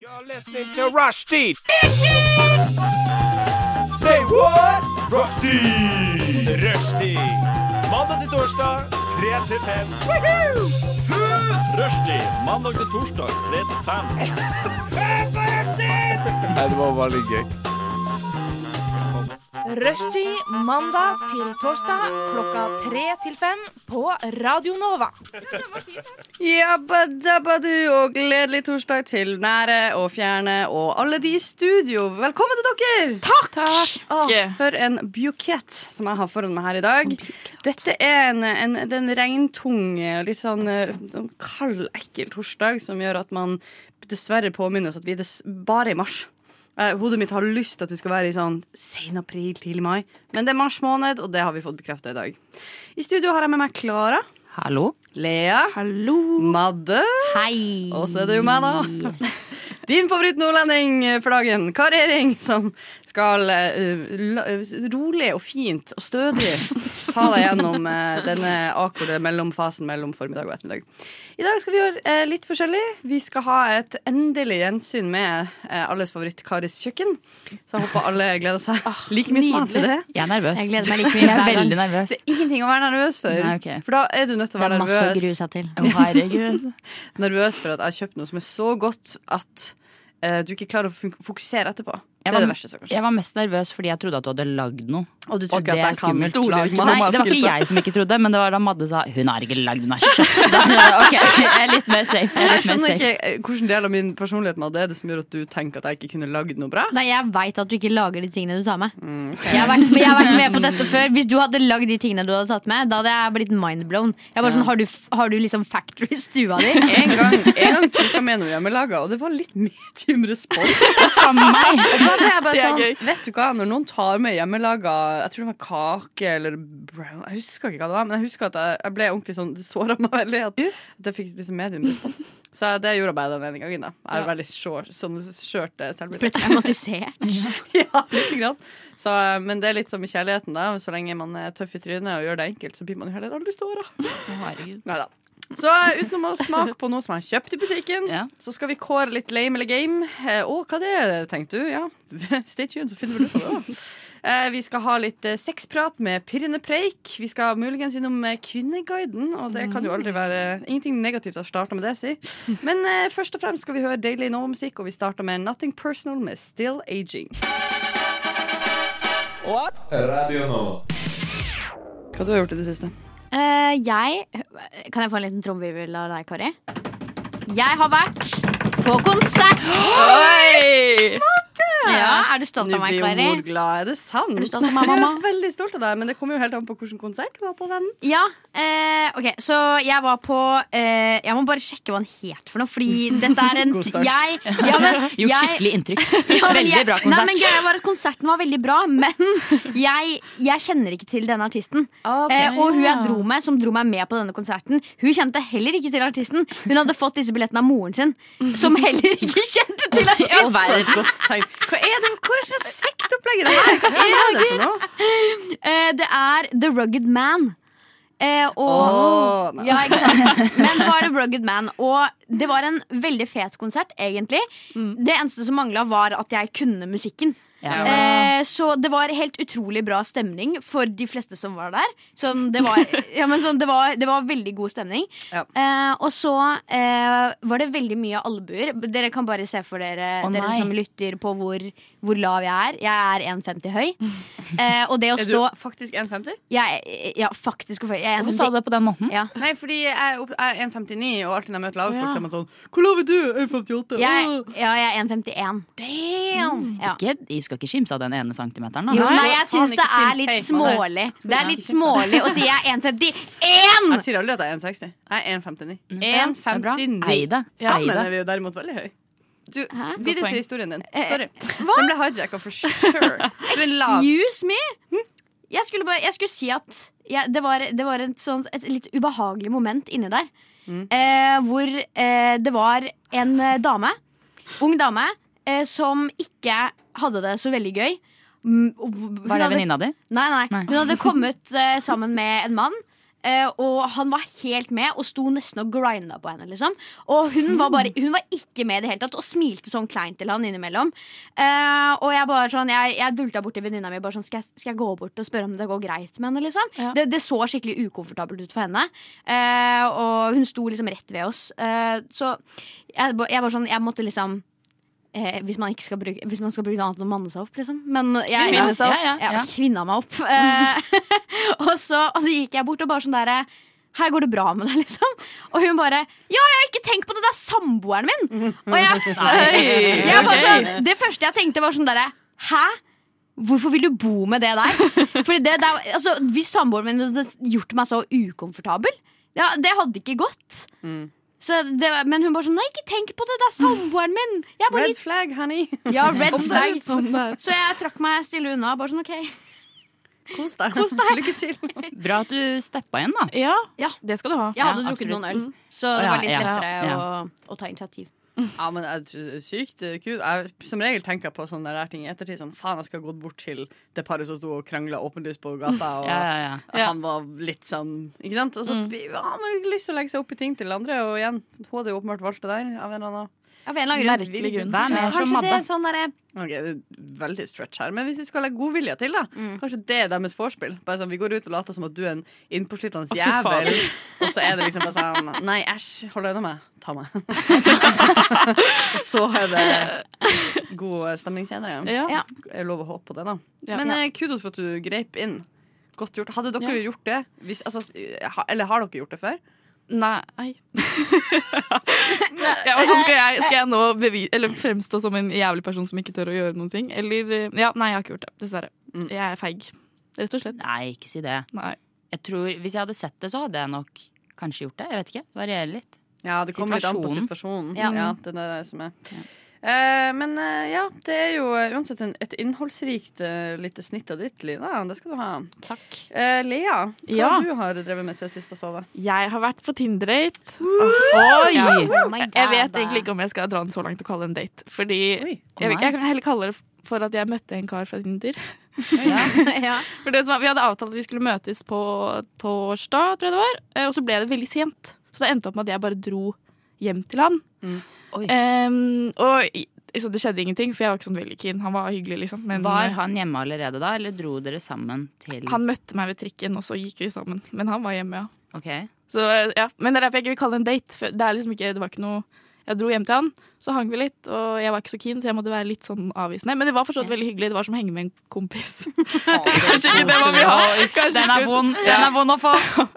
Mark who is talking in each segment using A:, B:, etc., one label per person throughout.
A: You're listening to Rushdie. Say what? Rushdie. Rushdie. Mandag til torsdag, 3 til 5. Rushdie. Mandag til torsdag, 3 til 5.
B: Rushtid mandag til torsdag klokka tre til fem på Radio Nova.
C: Jabbadabadu og gledelig torsdag til nære og fjerne og alle de i studio. Velkommen til dere! Takk! Åh, for en bukett som jeg har foran meg her i dag. Dette er en, en, det er en regntung og litt sånn, eh, sånn kald, ekkel torsdag som gjør at man dessverre påminnes at vi er dess bare er i mars. Eh, Hodet mitt har lyst til at vi skal være i sånn sen april, tidlig mai. Men det er mars måned, og det har vi fått bekrefta i dag. I studio har jeg med meg Klara.
D: Hallo.
C: Lea. Madde.
D: Hei.
C: Og så er det jo meg, da. Din favoritt nordlending eh, for dagen, Kari Ering, som skal eh, la- eh, rolig og fint og stødig ta deg gjennom eh, denne akorde mellomfasen mellom formiddag og ettermiddag. I dag skal vi gjøre eh, litt forskjellig. Vi skal ha et endelig gjensyn med eh, alles favoritt Karis kjøkken. Så jeg håper alle gleder seg
E: Ah,
C: like mye som meg til det.
D: Jeg er nervøs.
E: Jeg gleder meg like mye
D: Jeg er
E: hver
D: veldig
E: gang.
D: nervøs.
C: Det er ingenting å være nervøs for,
D: Nei, ok.
C: for da er du nødt til å
E: Det
C: være
E: er masse å
C: nervøs.
E: grue seg til.
D: Å, herregud.
C: nervøs for at jeg har kjøpt noe som er så godt at eh, du ikke klarer å fun- fokusere etterpå.
D: Jeg
C: det
D: var-
C: er det verste som kan skje.
D: Jeg var mest nervøs fordi jeg trodde at du hadde lagd noe.
C: Og du
D: Og det er skummelt.
C: Stoler ikke på
D: Nei, det
C: masker,
D: var ikke
C: så.
D: jeg som ikke trodde, men det var da Madde sa hun har ikke lagd, hun har kjøpt. Da skjønner jeg, Ok, jeg er litt mer safe. Jeg
C: Jeg
D: er litt mer
C: skjønner
D: safe.
C: ikke eh, hvilken del av min personlighet Madde, er det E som gjør at du tenker at jeg ikke kunne lagd noe bra.
E: Nei, jeg veit at du ikke lager de tingene du tar med.
C: Mm,
E: jeg, har vært, men jeg har vært med på dette før. Hvis du hadde lagd de tingene du hadde tatt med, da hadde jeg blitt mindblown. Jeg var sånn, har du, f- har du liksom factory i stua di?
C: En gang, en gang tok jeg med noe hjemmelaga, og det var litt medium respons.
D: Faen meg.
C: Da ble jeg bare
D: Det er
C: sånn,
D: gøy.
C: vet du hva, Når noen tar med hjemmelaga Jeg tror det var kake eller brown Jeg husker ikke hva det var, men jeg husker at jeg, jeg ble ordentlig sånn Det såra meg veldig at, at jeg fikk liksom medium respons. Så det gjorde jeg bare den ene gangen. da Jeg er veldig skjør, sånn skjørt eh,
E: Ble
C: selvbilde.
E: traumatisert.
C: Ja, lite grann. Så, eh, men det er litt som i kjærligheten, da. Så lenge man er tøff i trynet og gjør det enkelt, så blir man jo heller aldri såra. Neida. Så eh, utenom å smake på noe som jeg har kjøpt i butikken,
D: Ja.
C: så skal vi kåre litt lame eller game. Eh, Å, hva det er, tenkte du? Ja, stay tuned, så finner vi ut av det også. Eh, Vi skal ha litt eh, sexprat med Pirrende Preik. Vi skal muligens innom eh, Kvinneguiden, og det kan jo aldri være ingenting negativt å starte med det, si. Men eh, først og fremst skal vi høre deilig Nå-musikk, og vi starter med Nothing Personal med Still Aging.
F: Radio Nova.
C: Hva du har gjort i det siste?
E: Eh, jeg Kan jeg få en liten trommevirvel av deg, Kari? Jeg har vært på konsert! Ja, er du stolt
C: Nå
E: av meg,
C: blir jo
E: Kari?
C: mor glad. Er det sant?
E: Er du stolt av meg, mamma?
C: Jeg er veldig stolt av deg, men det kommer jo helt an på hvilken konsert du var på, vennen.
E: Ja, eh, ok, så jeg var på eh, Jeg må bare sjekke hva den het for noe, fordi dette er en
C: God start.
E: Jeg, ja, men,
D: Gjort
E: jeg-
D: skikkelig inntrykk.
E: ja, men
D: Veldig
E: jeg-
D: bra
E: Nei, men
D: konsert.
E: greia var at Konserten var veldig bra, men jeg, jeg kjenner ikke til denne artisten. Eh, og hun jeg dro med, som dro meg med på denne konserten, hun kjente heller ikke til artisten. Hun hadde fått disse billettene av moren sin, som heller ikke kjente til artisten.
C: Hva er det Hva er det slags sektopplegg er det her? Hva er det for noe?
E: Eh, det er The Rugged Man. Eh, og,
C: Åh, nei.
E: ja, ikke sant? Men det var The Rugged Man, og det var en veldig fet konsert, egentlig.
D: Mm.
E: Det eneste som mangla, var at jeg kunne musikken.
D: Ja.
E: Eh, så det var helt utrolig bra stemning for de fleste som var der. Sånn, det, var, ja, men sånn, det, var, det var veldig god stemning.
C: Ja.
E: Eh, og så eh, var det veldig mye albuer. Dere kan bare se for dere,
D: Å,
E: dere
D: nei.
E: som lytter på hvor, hvor lav jeg er. Jeg er 1,50 høy. Eh, og det å
C: Er
E: stå
C: du faktisk 1,50?
E: jeg, er- ja, faktisk hvorfor- jeg, er
D: Hvorfor
E: en-
D: sa du det på den måten?
E: Ja.
C: Nei, fordi jeg er opp- jeg er 1,59, og alltid når jeg møter lave folk,
E: Ja.
C: så er man sånn Hvor lav er du? 1,58?
E: Jeg, ja, jeg er 1,51
C: Damn!
E: ja.
D: Ikke, jeg skal ikke skimse av den ene centimeteren.
E: Jo,
D: Da.
C: Nei,
E: nei,
C: faen,
E: jeg syns det
C: ikke
E: er
C: syns.
E: litt
C: Hei,
E: smålig
C: Skal
E: Det er
C: du
E: litt
C: ikke kjefte?
E: smålig å si jeg er 1,51
C: Jeg sier aldri at jeg er 1,60. Jeg er 1,59.
E: Mm.
D: Ja, det er bra.
C: 1,59.
D: Eie det. Eie
C: Sammen er
D: det.
C: vi jo derimot veldig høy. Du,
E: Hæ?
C: videre
D: poeng.
C: til historien din.
E: Eh,
C: Sorry. Den ble hijacka for sure. Du er lav.
E: Excuse me Jeg skulle, bare, jeg skulle si at jeg, det, var, det var et, sånt, et litt ubehagelig moment inni der eh, Hvor eh, det var en eh, dame Ung dame eh, Som ikke hadde det så veldig gøy Mm, og- hun
D: Var det
E: hadde-
D: venninna di?
E: Nei, nei.
D: Nei.
E: Hun hadde kommet eh, sammen med en mann. Eh, og han var helt med og sto nesten og grinda på henne. liksom Og hun var, bare, hun var ikke med i det hele tatt og smilte sånn kleint til han innimellom. Eh, og jeg bare sånn Jeg, jeg dulta bort til venninna mi bare sånn skal jeg, skal jeg gå bort og spørre om det går greit med henne. liksom
B: Ja.
E: det, det så skikkelig ukomfortabelt ut for henne. Eh, og hun sto liksom rett ved oss. Eh, så jeg, ba- jeg bare sånn Jeg måtte liksom Eh, hvis, man ikke skal bruke, hvis man skal bruke noe annet enn å manne seg opp, liksom. Men jeg,
D: Kvinne seg opp.
E: Ja, ja,
D: Ja.
E: jeg kvinna meg opp. Eh, og, så, og så gikk jeg bort og bare sånn derre her går det bra med deg, liksom. Og hun bare Ja, ja, ikke tenk på det, det er samboeren min! Og jeg, jeg bare sånn, det første jeg tenkte, var sånn derre Hæ? Hvorfor vil du bo med det der? Fordi det, der altså, hvis samboeren min hadde gjort meg så ukomfortabel, ja, det hadde ikke gått.
C: Mm.
E: Så det, var- men hun bare sånn Nei, ikke tenk på det, det er samboeren min! Jeg er bare
C: Red flag, honey.
E: litt ja, red flag.
B: Sånn,
E: Så jeg trakk meg stille unna. Bare sånn, OK.
C: Kos deg.
E: Kos deg.
C: Lykke til.
D: Bra at du steppa inn, da.
B: ja, det skal du ha.
E: Jeg
D: Ja,
E: hadde drukket
D: absolutt.
E: noen øl, så
D: Å,
E: det
D: ja,
E: var litt
D: ja,
E: lettere
D: ja.
E: Å, å ta initiativ.
C: Ja, men jeg tror- sykt eh, kult. Jeg som regel tenker på sånne der ting i ettertid. Sånn, faen, jeg skal ha gått bort til det paret som sto og krangla åpenlyst på gata. Og
D: Ja, ja, ja. Mm.
C: og han var litt sånn Ikke sant? Og så ja, har man ikke lyst til å legge seg opp i ting til andre. Og igjen, hun hadde jo åpenbart valgt det der. Av en eller annen
E: Av en eller annen grunn.
B: Merkelig grunn.
D: Vær med som
C: Kanskje det
D: Madde.
C: er sånn derre Ok, det er veldig stretch her, men hvis vi skal legge godvilje til, da.
B: Mm.
C: Kanskje det er deres vorspiel. Bare sånn, Vi går ut og later som at du er en innpåslitende jævel, og så er det liksom bare sånn Nei, æsj, hold deg unna meg. Ta meg. Og så er det god stemning senere.
E: Ja.
C: Jeg lover å håpe på det, da.
B: Ja.
C: Men eh, kudos for at du greip inn. Godt gjort. Hadde dere gjort det? Hvis, altså, ha, eller har dere gjort det før?
G: Nei. Jeg var sånn, skal, jeg, skal jeg nå bevi eller fremstå som en jævlig person som ikke tør å gjøre noen ting? Eller eh, Ja, nei, jeg har ikke gjort det. Dessverre.
C: Mm.
G: Jeg er feig. Rett og slett.
D: Nei, ikke si det.
G: Nei.
D: Jeg tror, Hvis jeg hadde sett det, så hadde jeg nok kanskje gjort det. Jeg vet ikke. Det varierer litt.
C: Ja, det kommer litt an på situasjonen. Ja.
E: Ja.
D: Mm.
C: det er det som er. Eh, men eh, ja, det er jo eh, uansett en, et innholdsrikt eh, lite snitt av ditt liv. Da. Det skal du ha.
G: Takk.
C: Eh, Lea, hva
G: Ja.
C: du har du drevet med siden sist jeg så deg?
G: Jeg har vært på Tinder-date.
D: Oi!
E: Oh my
G: Jeg
E: God,
G: vet
E: da.
G: egentlig ikke om jeg skal dra den så langt og kalle det en date. Fordi jeg,
C: Oi.
D: Å, nei.
G: jeg kan heller kalle det for at jeg møtte en kar fra Tinder.
E: ja.
G: For det som var, Vi hadde avtalt at vi skulle møtes på torsdag, tror jeg det var. eh, Og så ble det veldig sent. Så det endte opp med at jeg bare dro hjem til han.
C: Mm.
D: Oi.
G: Em, og i- så det skjedde ingenting, for jeg var ikke sånn veldig keen. Han var hyggelig, liksom. Men
D: Var
G: eh,
D: han hjemme allerede da, eller dro dere sammen til
G: han møtte meg ved trikken, og så gikk vi sammen. Men han var hjemme, ja.
D: Ok.
G: Så, eh, ja. Men det er derfor jeg ikke vil kalle det en date. For det, er liksom ikke, det var ikke noe Jeg dro hjem til han, så hang vi litt, og jeg var ikke så keen, så jeg måtte være litt sånn avvisende. Men det var forstått veldig hyggelig. Det var som å henge med en kompis. Kanskje ikke det man vil ha. Kanskje
D: Den er
G: ikke-
D: vond,
G: Ja.
D: den er vond å få!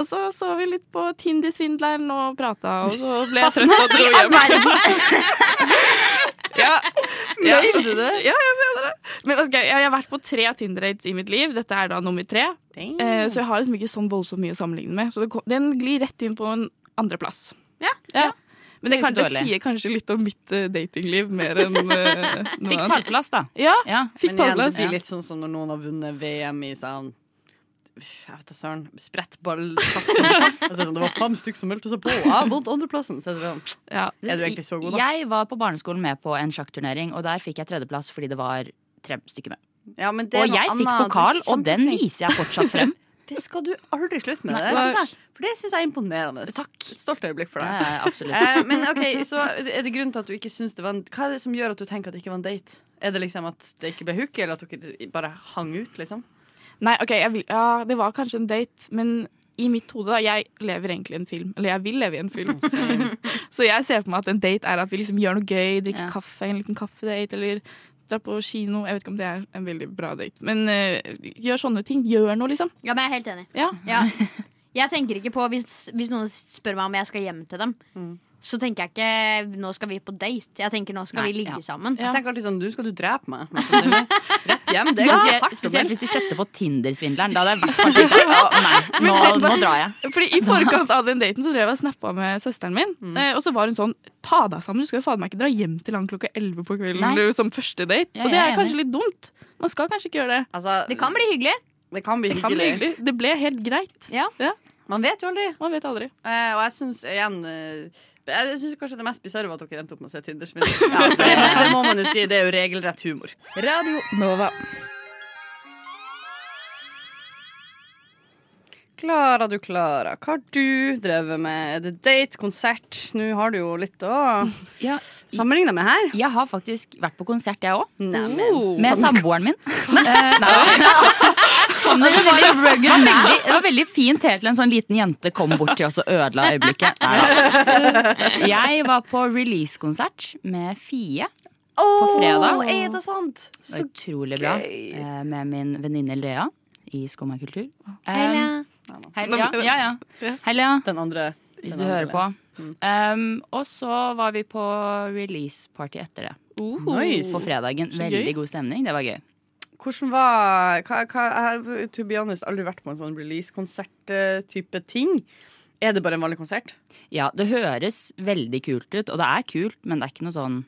G: Og så så vi litt på Tinder-svindleren og prata, og så ble jeg trøtt og dro hjem. ja. ja. Mener du det? Ja, jeg mener det. Men ok, jeg har vært på tre Tinder-dates i mitt liv. Dette er da nummer tre. Eh, så jeg har liksom ikke sånn voldsomt mye å sammenligne med. Så det, kom- den glir rett inn på en andreplass.
E: Ja,
G: ja. Men det,
D: Det er
G: kan,
D: ikke
G: det
D: dårlig.
G: sier kanskje litt om mitt eh, datingliv mer enn eh, noe
D: Fikk
G: annet.
D: pallplass, da.
G: Ja,
D: Ja.
G: fikk
C: Men igjen, det
G: pallplass.
C: blir litt sånn som når noen har vunnet VM i sånn jeg vet da søren. Sprettballkasting. altså, sånn, det var fem stykker som meldte seg på. Jeg vant andreplassen. Så er det sånn,
G: Ja.
C: er du egentlig så god, da?
D: Jeg var på barneskolen med på en sjakkturnering, og der fikk jeg tredjeplass fordi det var tre stykker med.
C: Ja, men det er
D: Og
C: noe
D: jeg fikk
C: annet. Du er
D: pokal, og den
C: kjempeflink.
D: viser jeg fortsatt frem.
C: Det skal du aldri slutte med.
D: Nei,
C: det
G: takk.
C: synes jeg, for det syns jeg er imponerende. Takk. Et stolt øyeblikk for
D: Ja,
C: deg.
D: ja, absolutt.
C: Eh, men ok, så er det grunnen til at du ikke syns det var en Hva er det som gjør at du tenker at det ikke var en date? Er det liksom at det ikke ble hook, eller at dere bare hang ut, liksom?
G: Nei, ok, jeg vil, ja, det var kanskje en date, men i mitt hode da, jeg lever egentlig i en film. Eller jeg vil leve i en film. Så jeg ser på meg at en date er at vi liksom gjør noe gøy, drikker
D: Ja.
G: kaffe, en liten kaffedate, eller drar på kino. Jeg vet ikke om det er en veldig bra date, men eh, gjør sånne ting. Gjør noe, liksom.
E: ja, men jeg er helt enig.
G: Ja.
E: Ja. Jeg tenker ikke på hvis, hvis noen spør meg om jeg skal hjem til dem, så tenker jeg ikke 'nå skal vi på date'. Jeg tenker 'nå skal
D: Nei,
E: vi ligge
D: ja.
E: sammen'.
G: Ja.
C: Jeg tenker alltid sånn Du skal du drepe meg? mest sannsynlig. Rett hjem. Det er ganske
D: Spesielt,
C: hardt.
D: spesielt hvis de setter på Tinder-svindleren. Da hadde jeg i hvert fall tenkt at å, nei, nå, nå drar jeg.
G: Fordi I forkant av den daten så drev jeg og snappa med søsteren min.
D: Mm.
G: eh, Og så var hun sånn Ta deg sammen, du skal jo faen meg ikke dra hjem til han klokka elleve på kvelden
D: Nei.
G: du, som første date.
D: Ja,
G: og det
D: jeg
G: er
D: er
G: kanskje litt dumt. Man skal kanskje ikke gjøre det.
C: Altså,
E: Det kan bli hyggelig.
C: det kan bli
G: Det kan bli hyggelig. Det ble helt greit.
E: Ja.
C: Man vet jo aldri.
G: Man vet aldri.
C: Eh, og jeg syns igjen eh, Jeg syns kanskje det mest bisarre var at dere endte opp med å se Tinder. Ja, det, det må man jo si. Det er jo regelrett humor. Radio Nova. Klara, du Klara, hva har du drevet med? Er det date, konsert? Nå har du jo litt å
D: Ja,
C: sammenligne med her.
D: jeg har faktisk vært på konsert, jeg òg.
C: Neimen.
D: Med samboeren min. Eh, nei. Han var veldig, var veldig, det var veldig fint helt til en sånn liten jente kom bort til oss og ødela øyeblikket. Nei. Jeg var på release-konsert med Fie.
C: Åh,
D: fredag.
C: Er det sant?
D: Det var utrolig bra.
C: gøy.
D: eh, Med min venninne Lea i Skumma kultur. Um, hei,
C: Nå-
D: ja, ja, ja. Hei, Lea,
C: Den andre.
D: hvis
C: den
D: du
C: andre Mm.
D: hører på.
C: Lea.
D: Um, og så var vi på release-party etter det. Uhuh. På fredagen. Veldig god stemning. Det var gøy.
C: Hvordan var hva, hva, Jeg har to be honest, aldri vært på en sånn release-konsert-type ting. Er det bare en vanlig konsert?
D: Ja, det høres veldig kult ut, og det er kult, men det er ikke noe sånn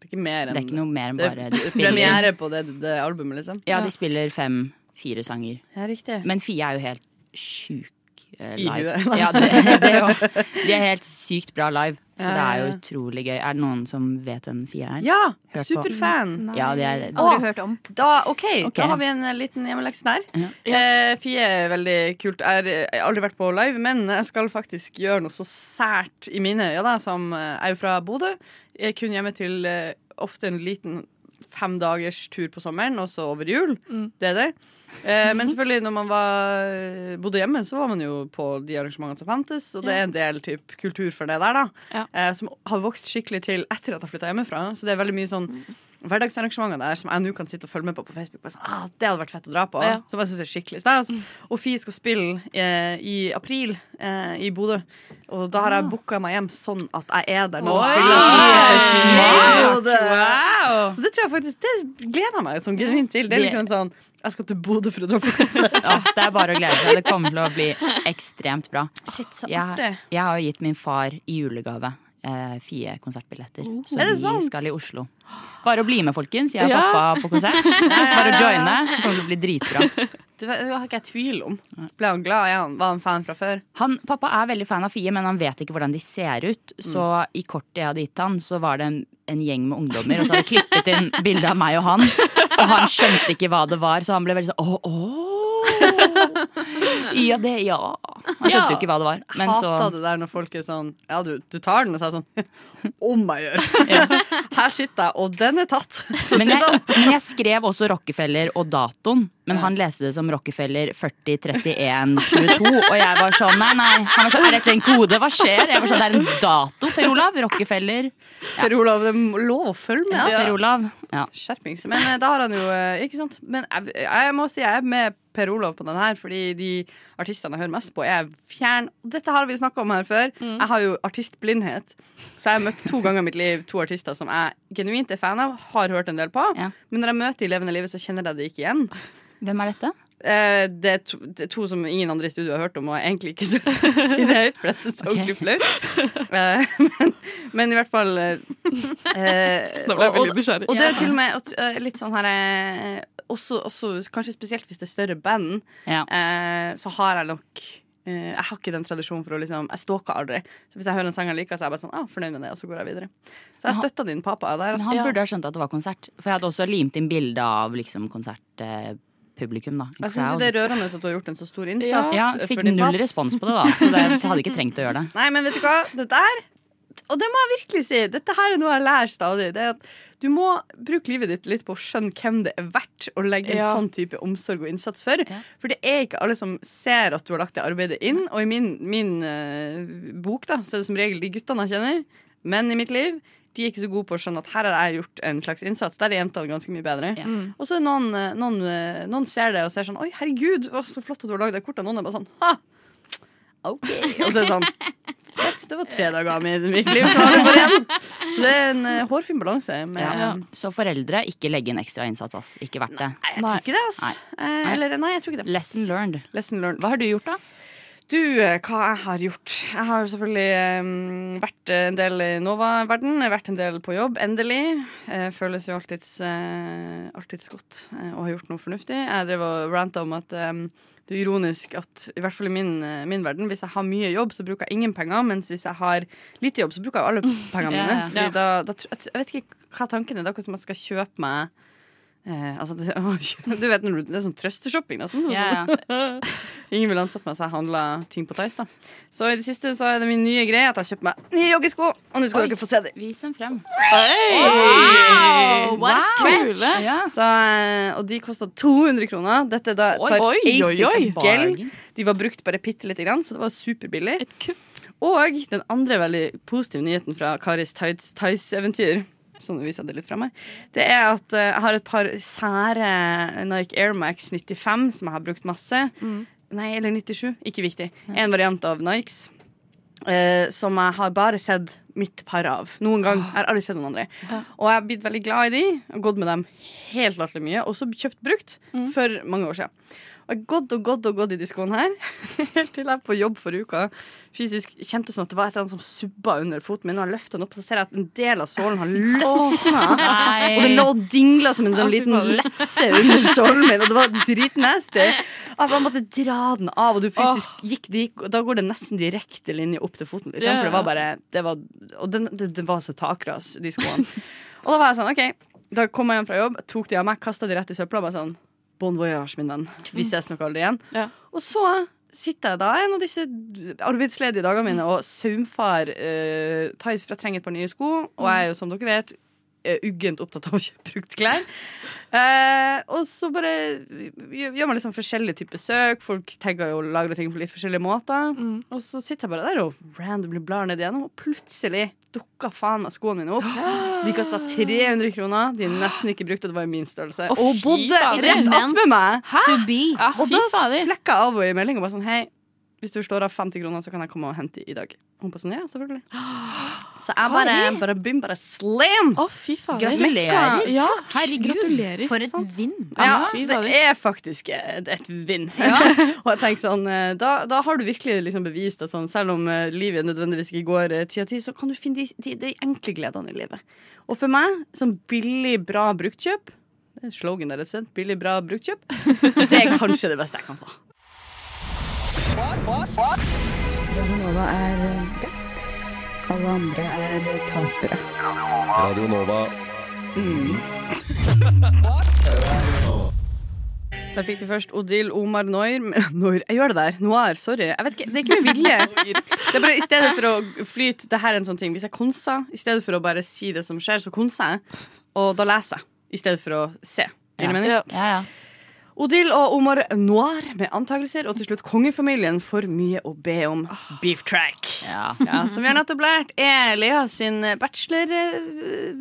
C: Det er ikke mer
D: Det
C: enn
D: er ikke noe mer enn
C: det er
D: bare de spiller,
C: Premiere på det, det albumet, liksom?
D: Ja, de spiller fem-fire sanger.
C: Ja, riktig.
D: Men Fie er jo helt sjuk eh,
C: I
D: live.
C: huet.
D: Ja, det, det er jo, de er helt sykt bra live, så
C: Ja,
D: det er
C: ja,
D: jo
C: ja.
D: på. gøy. Er det noen som vet hvem Fie er?
C: Ja!
D: Hørt på.
C: Superfan.
D: Ja, det er
E: Aldri hørt om.
C: Ah. Da, ok,
D: Ok.
C: da har vi en eh, liten hjemmelekse der.
D: Ja.
C: Eh, Fie er veldig kult. Jeg har eh, aldri vært på live, men jeg skal faktisk gjøre noe så sært i mine øyne da, som eh, Jeg er jo fra Bodø. Jeg er kun hjemme til eh, ofte en liten fem dagers tur på sommeren, og så over jul. Det er det. Eh, men selvfølgelig, når man var, eh, bodde hjemme, så var man jo på de arrangementene som fantes, og det er en del typ, kultur for det der, da.
G: Ja.
C: Eh, som har vokst skikkelig til etter at jeg flytta hjemmefra. Så det er veldig mye sånn hverdagsarrangementer der som jeg nå kan sitte og følge med på på Facebook. Bare sånn, ah, det hadde vært fett å dra på.
G: Ja.
C: Som jeg synes er skikkelig stas. Og Fi skal spille eh, i april eh, i Bodø. Og da har jeg booka meg hjem sånn at jeg er der når hun spiller.
D: Smart!
C: Så det,
D: Wow!
C: så det tror jeg faktisk Det gleder jeg meg sånn genuint til. Det er liksom sånn Jeg skal til Bodø for å dra på konsert.
D: Åh, det er bare å glede seg. Det kommer til å bli ekstremt bra.
C: Shit, så
D: Jeg, jeg har jo gitt min far i julegave eh, fire konsertbilletter. Så
C: Oh, Er det
D: vi
C: sant?
D: skal i Oslo. Bare å bli med, folkens. Jeg og
G: Ja.
D: pappa på konsert. Bare å joine. Det kommer til å bli dritbra.
C: Det var- det har ikke jeg tvil om. Ble han glad? Er han- Var han fan fra før?
D: Han, pappa er veldig fan av Fie, men han vet ikke hvordan de ser ut. Så i kortet jeg hadde gitt han, så var det en, en gjeng med ungdommer, og så hadde jeg klippet inn bilde av meg og han. Og han skjønte ikke hva det var, så han ble veldig sånn åh, åh. Ja, det, ja. Han skjønte jo ikke hva det var. Men så,
C: Hata det der når folk er sånn Ja, du, du tar den, og så er jeg sånn Om jeg gjør! Her sitter jeg, og den er tatt.
D: men, jeg,
C: sånn.
D: men jeg skrev også Rockefeller og datoen, men han leste det som Rockefeller 403122. Og jeg var sånn, nei, nei. Han var sånn, er dette en kode? Hva skjer? Jeg var sånn, det er en dato, Per Olav. Rockefeller.
C: Per Olav, det er lov å følge med.
D: Ja,
C: Altså.
D: Per Olav. Ja.
C: Skjerpings. Men eh, da har han jo eh, Ikke sant? Men jeg, jeg må si jeg er med Per Olav på den her, fordi de artistene jeg hører mest på, er fjern. og Dette har vi snakka om her før.
D: Mm.
C: Jeg har jo artistblindhet. Så jeg har møtt to ganger i mitt liv to artister som jeg genuint er fan av, har hørt en del på.
D: Ja.
C: Men når jeg møter de i levende livet, så kjenner jeg det ikke igjen.
D: Hvem er dette?
C: Eh, det, er to, det er to som ingen andre i studio har hørt om, og jeg er egentlig ikke så lyst til å si det høyt, for jeg syns det er ordentlig flaut. Eh, men, men i hvert fall eh, eh,
G: Da ble jeg
C: og-
G: veldig nysgjerrig.
C: og det er til og med at, eh, litt sånn her eh, også, også kanskje spesielt hvis det er større band,
D: Ja.
C: eh, så har jeg nok eh, jeg har ikke den tradisjonen for å liksom Jeg stalker aldri. Så Hvis jeg hører en sang jeg liker, så er jeg bare sånn ah, fornøyd med det, og så går jeg videre. Så jeg støtta din pappa der.
D: Men
C: Altså.
D: han
G: Ja.
D: burde ha skjønt at det var konsert. For jeg hadde også limt inn bilde av liksom, konsertpublikum. da.
C: Jeg syns det er rørende at du har gjort en så stor innsats.
D: ja,
C: for
D: fikk
C: din
D: null
C: paps.
D: respons på det, da. Så det jeg hadde ikke trengt å gjøre det.
C: Nei, men vet du hva? Dette her Og det må jeg virkelig si. Dette her er noe jeg lærer stadig. Det er at du må bruke livet ditt litt på å skjønne hvem det er verdt å legge en
G: Ja.
C: sånn type omsorg og innsats for. For det er ikke alle som ser at du har lagt det arbeidet inn. Og i min, min eh, bok da, så er det som regel de guttene jeg kjenner, menn i mitt liv, de er ikke så gode på å skjønne at her har jeg gjort en slags innsats. Der er jentene ganske mye bedre.
D: Ja.
C: Og så er noen, eh, noen, eh, noen ser det og ser sånn Oi, herregud, å, så flott at du har lagd det kortet. Noen er bare sånn Ha! OK. Og så er det sånn Fett, det var tre dager av mitt mitt liv. Så, var det bare igjen. så det er en eh, hårfin balanse. Med,
G: Ja.
D: Så foreldre, ikke legge inn ekstra innsats, ass. Ikke verdt det.
C: Nei, jeg tror ikke det, ass. Eh, eller, nei, jeg tror ikke det.
D: Lesson learned.
C: Lesson learned.
D: Hva har du gjort, da?
C: Du, eh, hva jeg har gjort? Jeg har jo selvfølgelig eh, vært en del i Nova-verden. jeg har Vært en del på jobb, endelig. Eh, føles jo alltids, eh, alltids godt eh, å ha gjort noe fornuftig. Jeg drev og ranta om at eh, det er ironisk at i hvert fall i min, eh, min verden, hvis jeg har mye jobb, så bruker jeg ingen penger, mens hvis jeg har lite jobb, så bruker jeg jo alle pengene
D: Ja,
C: mine.
D: ja.
C: Fordi da, da, tr- jeg vet ikke hva tanken er. Det er akkurat som at jeg skal kjøpe meg Eh, altså, det, du vet, når du- det er sånn trøsteshopping, nesten. Det var sånn.
D: Ja, ja.
C: Ingen ville ansatt meg, så jeg handla ting på Tice. da Så i det siste så er det min nye greie at jeg har kjøpt meg nye joggesko. Og nå skal dere få se dem.
D: Vis dem frem.
E: Oh, what a stretch.
D: Ja.
C: Så, eh, og de kosta 200 kroner. Dette er da et
D: Oi,
C: par
G: oi, oi, oi.
C: Asics gel.
D: Bargain.
C: De var brukt bare bitte lite grann, så det var superbillig.
G: Et kupp.
C: Og den andre veldig positive nyheten fra Karis Tides Tice-eventyr Sånn viser jeg det litt frem her Det er at eh, jeg har et par sære Nike Air Max 95 Som jeg har brukt masse
G: Mm.
C: Nei, eller 97, ikke viktig En variant av Nikes eh, Som jeg har bare sett mitt par av Noen gang, jeg har aldri sett noen andre Og jeg har blitt veldig glad i de Jeg har gått med dem helt latterlig mye Og så kjøpt brukt for mange år siden Og jeg har gått og gått og gått i de skoene her Helt til jeg på jobb for uka fysisk kjente sånn at det var et eller annet som subba under foten min. Og jeg løftet den opp, og så ser jeg at en del av sålen har løsna.
D: Nei.
C: Og den lå og dingla som en sånn
G: Å, fy
C: liten
G: faen.
C: lefse under sålen min, og det var dritnasty. Og jeg bare måtte dra den av, og du fysisk gikk det gikk, og da går det nesten direkte linje opp til foten. Liksom,
G: Ja.
C: for det var bare det var, Og den, det, det var så takras, de skoene. og da var jeg sånn, OK. Da kom jeg hjem fra jobb, tok de av meg, kasta de rett i søpla og bare sånn Bon voyage, min venn.
G: Mm.
C: Vi ses nok aldri igjen.
G: Ja.
C: Og så sitter jeg da en av disse arbeidsledige dagene mine og saumfar uh, Thais fra trenger et par nye sko, og jeg er jo, som dere vet, eh, uggent opptatt av å kjøpe brukt klær. Eh, og så bare gjør man liksom forskjellige typer søk. Folk tagger jo og lagrer ting på litt forskjellige måter.
G: Mm.
C: Og så sitter jeg bare der og randomly blar ned igjennom, og plutselig dukka faen meg skoene mine opp. De kosta 300 kroner. De er nesten ikke brukt, og det var i min størrelse.
G: Å,
C: og
G: fy
C: bodde
G: faen.
C: rett attmed meg.
E: To be.
G: Ja,
C: Og
G: fy
C: da
G: fader.
C: flekka jeg Alvo i melding og bare sånn Hei, hvis du slår av 50 kroner, så kan jeg komme og hente i dag. Hun bare sånn, ja, selvfølgelig. Så jeg bare, bare begynner bare slam.
G: Å, fy fader.
D: Gratulerer.
G: Ja,
D: Herregud.
G: gratulerer.
E: For et vind.
C: Ja,
G: fy
C: det
G: fader.
C: er faktisk eh, et, et vinn. og jeg tenker sånn, eh, da, da har du virkelig liksom bevist at sånn, selv om eh, livet nødvendigvis ikke går eh, ti av ti, så kan du finne de, de, de enkle gledene i livet. Og for meg, sånn billig, bra bruktkjøp det er Slogan der et sted. Billig, bra bruktkjøp. Det er kanskje det beste jeg kan få.
F: Radio Nova.
C: Der fikk du først Odil Omar Noir Noir, jeg gjør det der. Noir, sorry. Jeg vet ikke, Det er ikke med vilje. Det er bare I stedet for å flyte Det her er en sånn ting. Hvis jeg konser, i stedet for å bare si det som skjer, så konser jeg. Og da leser jeg. I stedet for å se. Gir det mening?
G: Ja.
D: Ja, ja.
C: Odil og Omar Noir med antakelser, og til slutt kongefamilien for mye å be om. Beef track.
D: Ja.
C: Ja, som vi har nettopp lært, er Lea sin bachelor eh,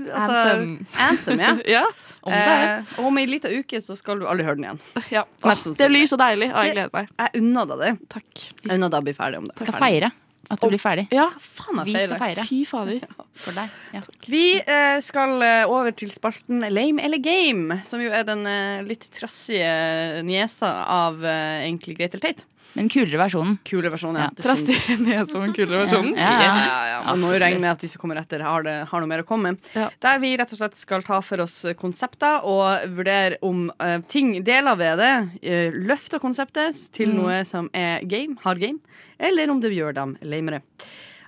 C: altså,
G: Anthem.
C: Anthem, ja.
G: Ja, om det er.
C: Eh, og om ei lita uke så skal du aldri høre den igjen. mest
G: Ja. Åh, sånn. Det
C: sannsynlig.
G: blir så deilig. Å, jeg gleder meg.
C: Jeg unna deg det.
G: Takk.
C: Jeg unna deg å bli ferdig om det.
D: Skal feire at du blir ferdig.
G: Ja,
C: Faen,
D: Vi skal feire
G: fy fader.
D: for deg. Ja.
C: Vi eh, skal eh, over til spalten Lame eller game, som jo er den eh, litt trassige niesa av eh, egentlig greit eller teit.
D: Men kulere versjonen.
C: Kule versjon,
D: Ja,
C: ja. Definitivt.
G: Trasser ned som en kulere versjon.
D: Ja, ja, ja.
C: Ja, ja, ja. Man må jo regne med at de som kommer etter, har, det, har noe mer å komme med.
G: Ja.
C: Der vi rett og slett skal ta for oss konsepter og vurdere om eh, ting, deler ved det, eh, løfter konseptet til
D: Mm.
C: noe som er game, hard game, eller om det gjør dem lamere.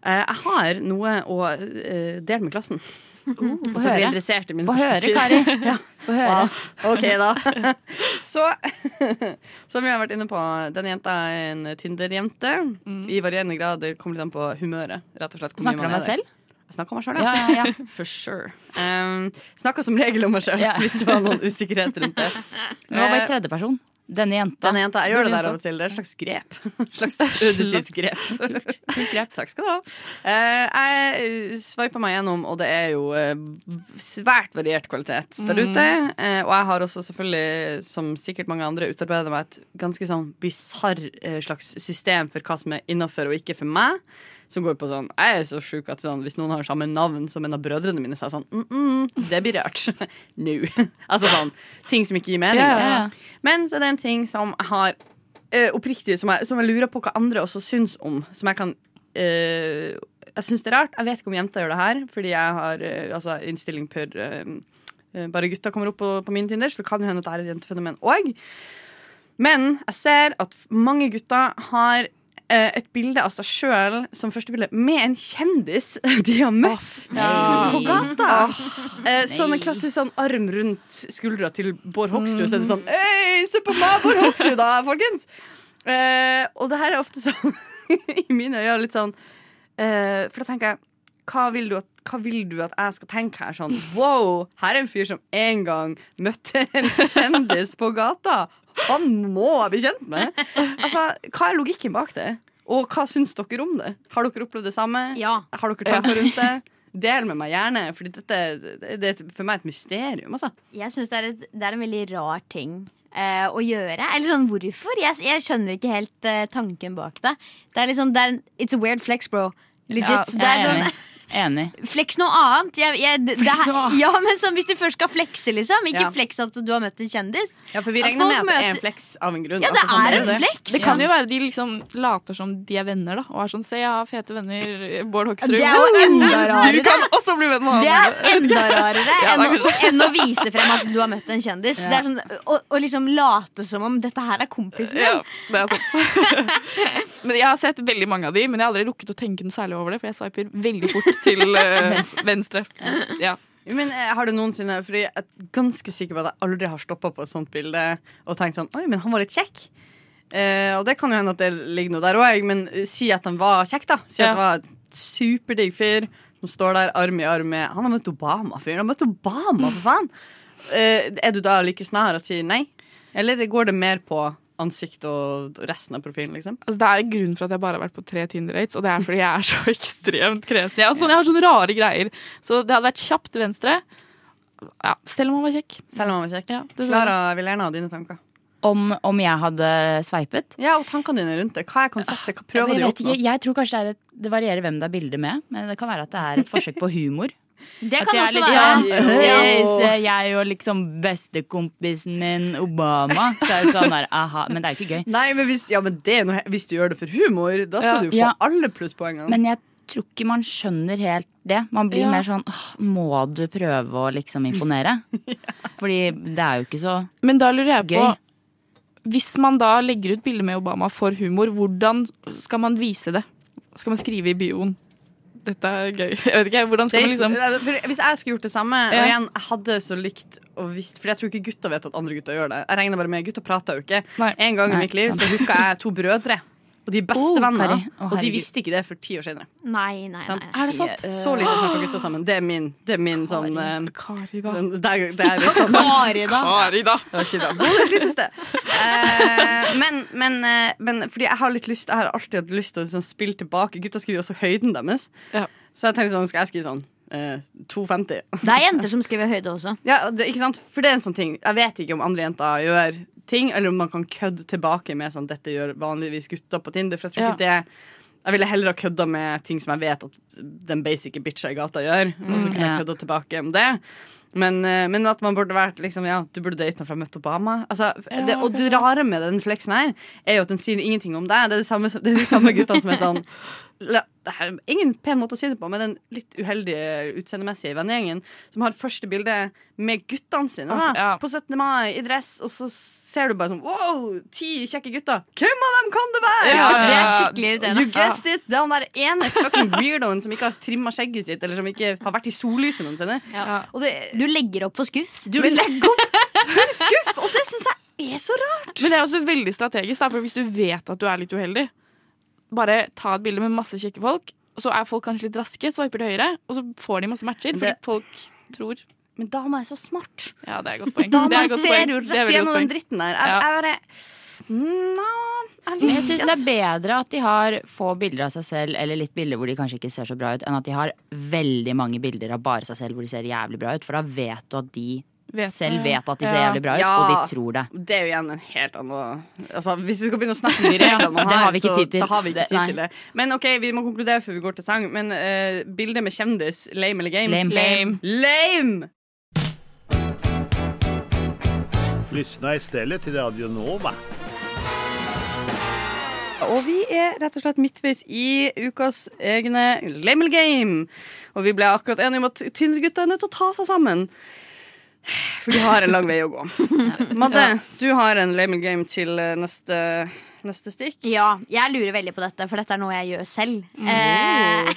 C: Eh, jeg har noe å eh, dele med klassen. Hvis dere er
D: høre.
C: interessert i min
D: Mm. Få høre,
C: perspektiv.
D: Kari. Få høre.
C: Wow. Ok, da. Så som vi har vært inne på, denne jenta er en Tinder-jente. I varierende grad. Det kommer litt an på humøret. rett og slett. hvor mye
D: Mm. Snakker
C: man
D: du
C: er
D: om deg
C: der.
D: selv?
C: Jeg snakker om meg sjøl,
D: Ja, ja, ja.
C: For sure. Um, snakka som regel om meg sjøl
D: Ja.
C: hvis det var noen usikkerhet rundt det.
D: Nå var det i tredjeperson. Denne jenta.
C: Denne jenta, Jeg gjør det
G: Denne
C: der av og til. Det er et slags grep. Et slags auditivt grep. Takk skal du ha. Eh, jeg sveipa meg gjennom, og det er jo eh, svært variert kvalitet der
D: Mm.
C: ute. Eh, og jeg har også selvfølgelig, som sikkert mange andre, utarbeida meg et ganske sånn bisarr eh, slags system for hva som er innafor og ikke for meg. Som går på sånn Jeg er så sjuk at sånn, hvis noen har samme navn som en av brødrene mine, så er jeg sånn mm -mm, Det blir rørt. Nå. altså sånn ting som ikke gir mening.
G: Ja,
C: da.
D: ja, ja.
C: Men så er det en ting som jeg har eh, oppriktig som jeg, som jeg lurer på hva andre også syns om. Som jeg kan eh, Jeg syns det er rart. Jeg vet ikke om jenter gjør det her, fordi jeg har eh, altså, innstilling per eh, eh, Bare gutta kommer opp på, på min Tinder, så det kan jo hende at det er et jentefenomen òg. Men jeg ser at f- mange gutter har eh, et bilde av seg sjøl som første bilde med en kjendis de har møtt på gata. Eh, sånn en klassisk sånn arm rundt skuldra til Bård Hoksrud. Så er det sånn Hei, se på meg, Bård Hoksrud, da, folkens! Eh, og det her er ofte sånn i mine øyne litt sånn eh, For da tenker jeg hva vil, du at, hva vil du at jeg skal tenke her? Sånn, wow, her er en fyr som en gang møtte en kjendis på gata. Han må jeg bli kjent med! Altså, Hva er logikken bak det? Og hva syns dere om det? Har dere opplevd det samme?
E: Ja.
C: Har dere tanker rundt det? Del med meg gjerne, for dette det er et- for meg et mysterium. Altså.
E: Jeg syns det, er et- det er en veldig rar ting eh, å gjøre. Eller sånn hvorfor? Jeg, jeg skjønner ikke helt eh, tanken bak det. Det er liksom det er, en- It's a weird flex, bro. Legit.
D: Ja,
E: det er
D: jeg er
E: sånn,
D: enig. enig.
E: Flex noe annet. Jeg, jeg, det, det,
D: Flex noe annet.
E: ja, men sånn, Hvis du først skal flekse, liksom. Ikke
C: Ja.
E: fleks at du har møtt en kjendis.
C: Ja, For vi
E: At
C: regner med
E: folk
C: at det er en
E: møter-
C: fleks av en grunn.
E: Ja, det
C: altså, sånn
E: er
C: det.
E: en fleks!
G: Det kan jo være de liksom later som de er venner, da. Og er sånn 'se, jeg har fete venner', Bård Hoksrud.
E: Det er jo enda
G: Du
E: rarere.
G: kan også bli venn med
E: Det
G: han.
E: er enda rarere
G: Ja,
E: enn,
G: det er
E: å, enn å vise frem at du har møtt en kjendis. Det er sånn, å, å liksom late som om dette her er kompisen din.
G: Ja, det er sant. men jeg har sett veldig mange av de, men jeg har aldri rukket å tenke noe særlig over det, for jeg swiper veldig fort til eh, venstre. Ja.
C: Jo, Men eh, har du noensinne Fordi jeg er ganske sikker på at jeg aldri har stoppa på et sånt bilde og tenkt sånn Oi, men han var litt kjekk. Eh, og det kan jo hende at det ligger noe der òg, men eh, si at han var kjekk, da. Si
G: Ja.
C: at det var en superdigg fyr som står der arm i arm med Han har møtt Obama-fyren. Han har møtt Obama, for faen! Eh, er du da like snar at sier nei? Eller går det mer på ansikt og resten av profilen, liksom?
G: Altså, det er en grunn for at jeg bare har vært på tre Tinder-dates, og det er fordi jeg er så ekstremt kresen. Jeg, er sånn, jeg har sånne rare greier. Så det hadde vært kjapt til venstre. Ja, selv om han var kjekk.
C: Selv om han var kjekk.
G: Ja, det-
C: Klara, jeg vil gjerne ha dine tanker.
D: Om, om jeg hadde sveipet?
C: Ja, og tankene dine rundt det. Hva er konseptet? Hva prøver du å
D: jeg, vet
C: oppnå?
D: ikke, jeg tror kanskje det, er et, det varierer hvem det er bilde med, men det kan være at det er et forsøk på humor.
E: Det
D: At
E: kan
D: jeg er
E: også
D: litt
E: være.
D: sånn,
E: Ja.
D: «Hei, se, jeg og liksom bestekompisen min Obama. Så er det sånn der, aha, men det er jo ikke gøy.
C: Nei, men hvis, ja, men det er noe, he- hvis du gjør det for humor, da skal
G: Ja.
C: du få
D: Ja.
C: alle plusspoengene.
D: Men jeg tror ikke man skjønner helt det. Man blir
G: Ja.
D: mer sånn åh, må du prøve å liksom imponere? Fordi det er jo ikke så
G: Men da lurer jeg på
D: Gøy.
G: Hvis man da legger ut bilder med Obama for humor, hvordan skal man vise det? Skal man skrive i bioen? Dette er gøy. Jeg vet ikke, hvordan skal man liksom
C: Det er- for Hvis jeg skulle gjort det samme, og
G: Ja.
C: igjen, jeg hadde så likt og visst For jeg tror ikke gutta vet at andre gutta gjør det. Jeg regner bare med Gutta prater jo ikke.
G: Nei.
C: En gang i
D: Nei,
C: mitt liv
D: sant.
C: så hooka jeg to brødre. Og de er
D: Oh,
C: bestevenner.
D: Kari. Å,
C: og de
D: herregud.
C: visste ikke det for ti år senere.
E: Nei, nei,
C: Sant?
E: nei.
G: Er det sant?
C: Så lite snakker gutta sammen. Det er min, det er min sånn eh,
G: Kari, da.
C: sånn- det er, det er standard.
E: Kari, da.
G: Kari, da.
C: Det var ikke bra. Bodø er et lite sted. Eh, men, men, eh, men fordi jeg har litt lyst Jeg har alltid hatt lyst til å liksom spille tilbake. Gutta skriver jo også høyden deres.
G: Ja.
C: Så jeg tenkte sånn, skal jeg skrive sånn eh, 2,50?
E: Det er jenter som skriver høyde også.
C: Ja, det, ikke sant? For det er en sånn ting. Jeg vet ikke om andre jenter gjør ting, eller om man kan kødde tilbake med sånn dette gjør vanligvis gutter på Tinder. For jeg tror ikke det jeg ville heller ha kødda med ting som jeg vet at den basic bitcha i gata gjør. Og så kunne
D: Ja.
C: jeg kødda tilbake med det. Men, eh, men at man burde vært liksom, ja, du burde date meg fra jeg møtte Obama. Altså, det, og det rare med den fleksen her er jo at den sier ingenting om deg. Det er, det samme, som- det er de samme guttene som er sånn La- det her, Ingen pen måte å si det på, men den litt uheldige utseendemessige vennegjengen som har første bilde med guttene sine da,
G: ja.
C: på 17. mai i dress, og så ser du bare sånn Wow, ti kjekke gutter! Hvem av dem kan det være?!
G: Ja,
E: Det er skikkelig
C: You
E: irriterende.
C: guessed it! Det er han der ene fucking weirdoen som ikke har trimma skjegget sitt, eller som ikke har vært i sollyset noensinne.
E: Ja.
C: Og det
E: Du legger opp for skuff.
C: du legger opp for skuff! Og det syns jeg er så rart!
G: Men det er også veldig strategisk, da, for hvis du vet at du er litt uheldig, bare ta et bilde med masse kjekke folk, og så er folk kanskje litt raske, swiper til høyre, og så får de masse matcher, fordi
C: Det-
G: folk tror
C: Men dama er så smart.
G: Ja, det er et godt poeng.
C: Dama
G: det er et godt
C: ser
G: poeng.
C: jo
G: Det er
C: rett
G: veldig
C: gjennom den
G: godt poeng.
C: dritten der.
G: Ja.
C: Jeg, jeg bare Nja
D: Men jeg syns det er bedre at de har få bilder av seg selv, eller litt bilder hvor de kanskje ikke ser så bra ut, enn at de har veldig mange bilder av bare seg selv hvor de ser jævlig bra ut. For da vet du at de
G: Vet-
D: selv vet at de ser
G: Ja.
D: jævlig bra ut,
C: Ja.
D: og de tror det.
C: Det er jo igjen en helt annen altså, Hvis vi skal begynne å snakke om de reglene man
D: det
C: har,
D: har vi ikke
C: så
D: tid til.
C: da har vi ikke
D: Det-
C: tid
D: nei.
C: til det. Men ok, vi må konkludere før vi går til sang. Men eh, bildet med kjendis, lame eller game?
D: Lame.
G: Lame.
C: Lame!
H: Lyssna istället till Radio Nova.
C: Og vi er rett og slett midtveis i ukas egne Lame eller game. Og vi ble akkurat enige om at Tinder-gutta er nødt til å ta seg sammen. For de har en lang vei å gå. Madde, du har en lame eller game til eh, neste neste stikk.
E: Ja, jeg lurer veldig på dette, for dette er noe jeg gjør selv. Eh,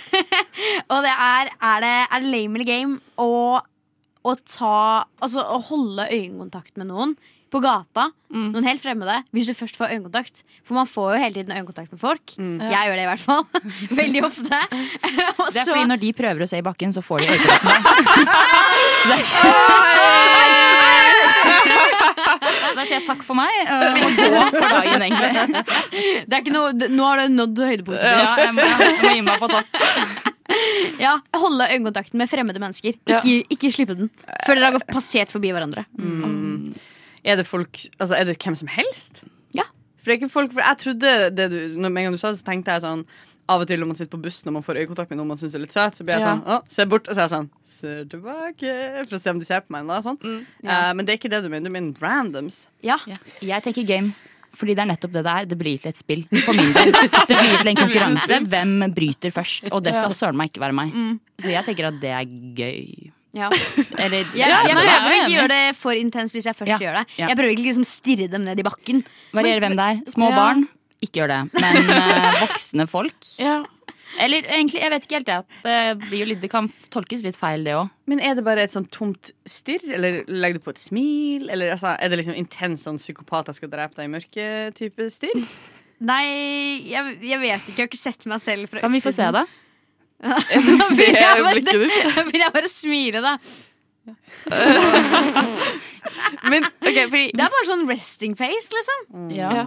E: og det er Er det, er det lame eller game å, å ta Altså å holde øyekontakt med noen på gata, noen helt fremmede, hvis du først får øyekontakt? For man får jo hele tiden øyekontakt med folk. Jeg gjør det i hvert fall. veldig ofte. og
D: Det er
E: så-
D: fordi når de prøver å se i bakken, så får de øyekontakt med meg. Så det Da sier jeg takk for meg, øh, og gå for dagen, egentlig.
E: det er ikke noe, nå har du nådd høydepunktet.
D: Ja,
E: ditt.
D: jeg må, jeg må gi meg på topp.
E: Ja, holde øyekontakten med fremmede mennesker. Ikke, ikke slippe den før dere har gått- passert forbi hverandre.
C: Er det folk, altså er det hvem som helst?
E: Ja.
C: For det er ikke folk, for jeg trodde det du, når med en gang du sa det, så tenkte jeg sånn Av og til når man sitter på bussen og man får øyekontakt med noen man syns er litt søt, så blir jeg
G: Ja.
C: sånn Å, se bort, og så er jeg sånn Ser tilbake, for å se om de ser på meg. eller noe Sånn. Eh, men det er ikke det du mener. Du mener randoms.
E: Ja.
D: Jeg tenker game. Fordi det er nettopp det det er. Det blir til et spill. For min del. Det blir til en konkurranse. Hvem bryter først? Og det skal søren meg ikke være meg. Så jeg tenker at det er gøy.
E: Ja.
D: Eller
E: Jeg,
D: Ja, det
E: jeg
D: er
E: prøver å
D: jeg
E: ikke
D: enig i.
E: gjøre det for intenst hvis jeg først
D: Ja,
E: gjør det.
D: ja.
E: Jeg prøver ikke liksom stirre dem ned i bakken.
D: Varierer hvem det er. Små
G: Ja.
D: barn, ikke gjør det. Men eh, voksne folk
G: Ja.
D: Eller egentlig, jeg vet ikke helt det. Det, blir jo litt, det kan tolkes litt feil, det òg.
C: Men er det bare et sånn tomt stirr, eller legger du på et smil? Eller altså, er det liksom intens sånn psykopat jeg skal drepe deg i mørket-type stirr?
E: Nei, jeg, jeg vet ikke. Jeg har ikke sett meg selv fra
D: Kan vi få se det?
E: Da
G: Se
E: begynner jeg bare-
G: blikket ditt.
E: Da begynner jeg bare å smile, da.
G: Men ok, fordi
E: Det er bare sånn resting face, liksom.
G: Ja.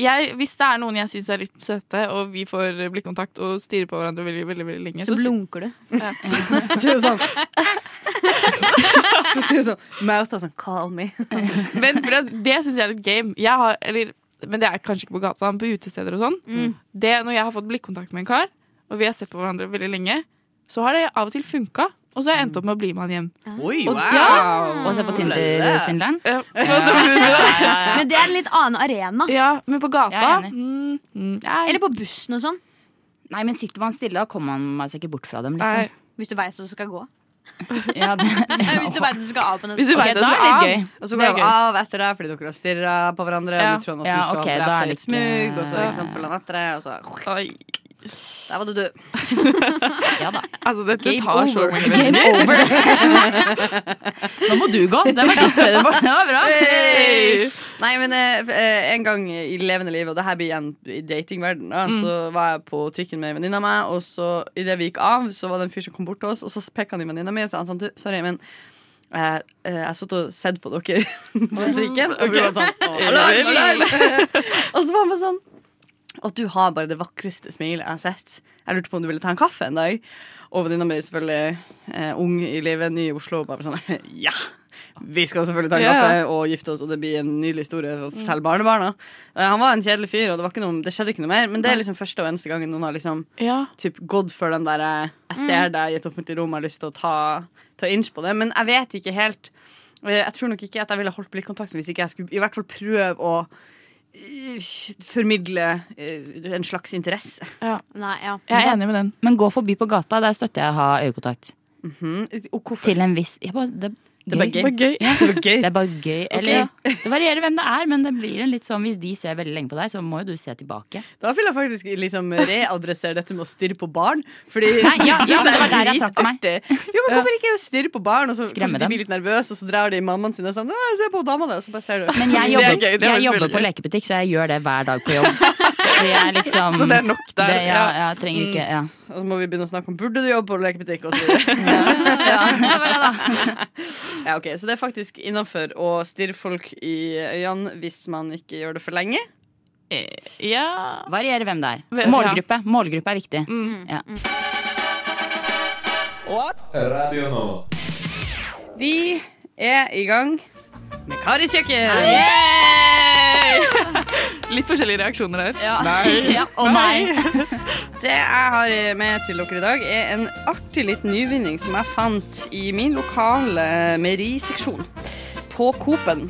G: jeg, hvis det er noen jeg syns er litt søte, og vi får blikkontakt og stirrer på hverandre veldig veldig, veldig lenge
E: Så blunker du.
C: Så sier hun sånn Så sier hun sånn Mouta sånn Call me.
G: Men for det, det syns jeg er litt game. Jeg har, eller, men det er kanskje ikke på gata, men på utesteder og sånn. Det Når jeg har fått blikkontakt med en kar, og vi har sett på hverandre veldig lenge, så har det av og til funka. Og så har jeg endt opp med å bli med han hjem.
C: Oi,
G: Og-
C: wow!
G: ja.
D: Og se på Tinder-svindleren?
E: Men det er en litt annen arena.
G: Ja, Men på gata
D: Jeg er enig.
G: mm, mm, nei,
E: Eller på bussen og sånn.
D: Nei, men sitter man stille, da kommer man seg ikke bort fra dem,
G: nei.
D: liksom.
E: Hvis du veit at du skal gå.
D: Ja, det,
E: Nei, Hvis du vet at du skal av på
G: Hvis du
E: neste
D: Ok,
G: vet det,
D: da
G: så
D: er det
G: av.
D: gøy.
C: Og så
G: Det
C: går
G: er
C: han av etter deg fordi dere har stirra på hverandre.
G: Ja.
C: Og du tror han at
D: Ja,
C: du skal ha
D: ok, da er
C: drept deg
D: det eh,
C: litt
D: ikke-
C: smug, og så liksom, følger han etter deg, og så
G: Oi,
C: Der var det du.
D: ja da.
G: altså, dette
C: Game
G: tar så
C: over.
G: mange minutter.
D: Nå må du gå. Det var, ditt, det var, det var bra.
C: Nei, men eh, f- eh, en gang i levende livet, og det her blir igjen i datingverden da,
D: Mm.
C: så var jeg på trikken med en venninne av meg, og så idet vi gikk av, så var det en fyr som kom bort til oss, og så pekte han i venninna mi og sa han sånn, «Du, sorry, men eh, eh, jeg har satt og sett på dere på trikken. Og, vi var sånn, «Å, alarm, alarm!» og så var han bare sånn Og du har bare det vakreste smilet jeg har sett. Jeg lurte på om du ville ta en kaffe en dag. Og venninna mi, selvfølgelig eh, ung i livet, ny i Oslo, bare sånn Ja! Vi skal selvfølgelig ta en
G: Ja, ja.
C: kaffe og gifte oss, og det blir en nydelig historie å fortelle barnebarna. Eh, Han var en kjedelig fyr, og det, var ikke noe, det skjedde ikke noe mer. Men det er liksom første og eneste gangen noen har liksom
G: Ja.
C: typ, gått for den derre 'jeg
D: Mm.
C: ser deg i et offentlig rom, jeg har lyst til å ta, ta inch på det'. Men jeg vet ikke helt. Og Jeg jeg tror nok ikke at jeg ville holdt blikkontakten hvis ikke jeg skulle i hvert fall prøve å eh, formidle eh, en slags interesse.
E: Nei, ja.
G: Jeg er enig med den.
D: Men gå forbi på gata, der støtter jeg å ha øyekontakt. Mm.
C: Og hvorfor?
D: Til en viss jeg bare, det,
C: Det var gøy.
G: Det var
C: Det
G: gøy.
C: var gøy.
D: Det er bare gøy. Eller, Det varierer hvem det er, men det blir en litt sånn hvis de ser veldig lenge på deg, så må jo du se tilbake.
C: Da vil jeg faktisk liksom readressere dette med å stirre på barn. Fordi
D: Nei, ja,
C: det
D: ja,
C: synes
D: det var der jeg trakk meg.
C: dritartig. Jo, men Hvorfor ikke stirre på barn, og så
D: Skremme
C: kanskje
D: dem.
C: de blir litt nervøse, og så drar de mammaen sin og sånn «Å, 'Se på dama der', og så bare ser du.
D: Men
G: Det
D: jeg
G: er
D: jobber,
G: gøy, det er
D: jeg
G: faktisk
D: jobber
G: veldig
D: på
G: gøy.
D: lekebutikk, så jeg gjør det hver dag på jobb. Så jeg liksom
G: Så det er nok der.
D: det- ja,
G: ja. Mm.
D: jeg trenger ikke ja.
C: Og så må vi begynne å snakke om 'Burde du jobbe på lekebutikk?' og så videre. Ja, ok, Så det er faktisk innafor å stirre folk i øynene hvis man ikke gjør det for lenge.
G: Ja. Mm.
D: Varierer hvem det
G: Ve-
D: er. Målgruppe. Målgruppe er viktig. Ja.
F: Radio Nova.
C: Vi er i gang med Karis kjøkken.
G: Litt forskjellige reaksjoner her.
D: Ja, å nei.
C: Det jeg har med til dere i dag, er en artig liten nyvinning som jeg fant i min lokale meieriseksjon på Coop-en.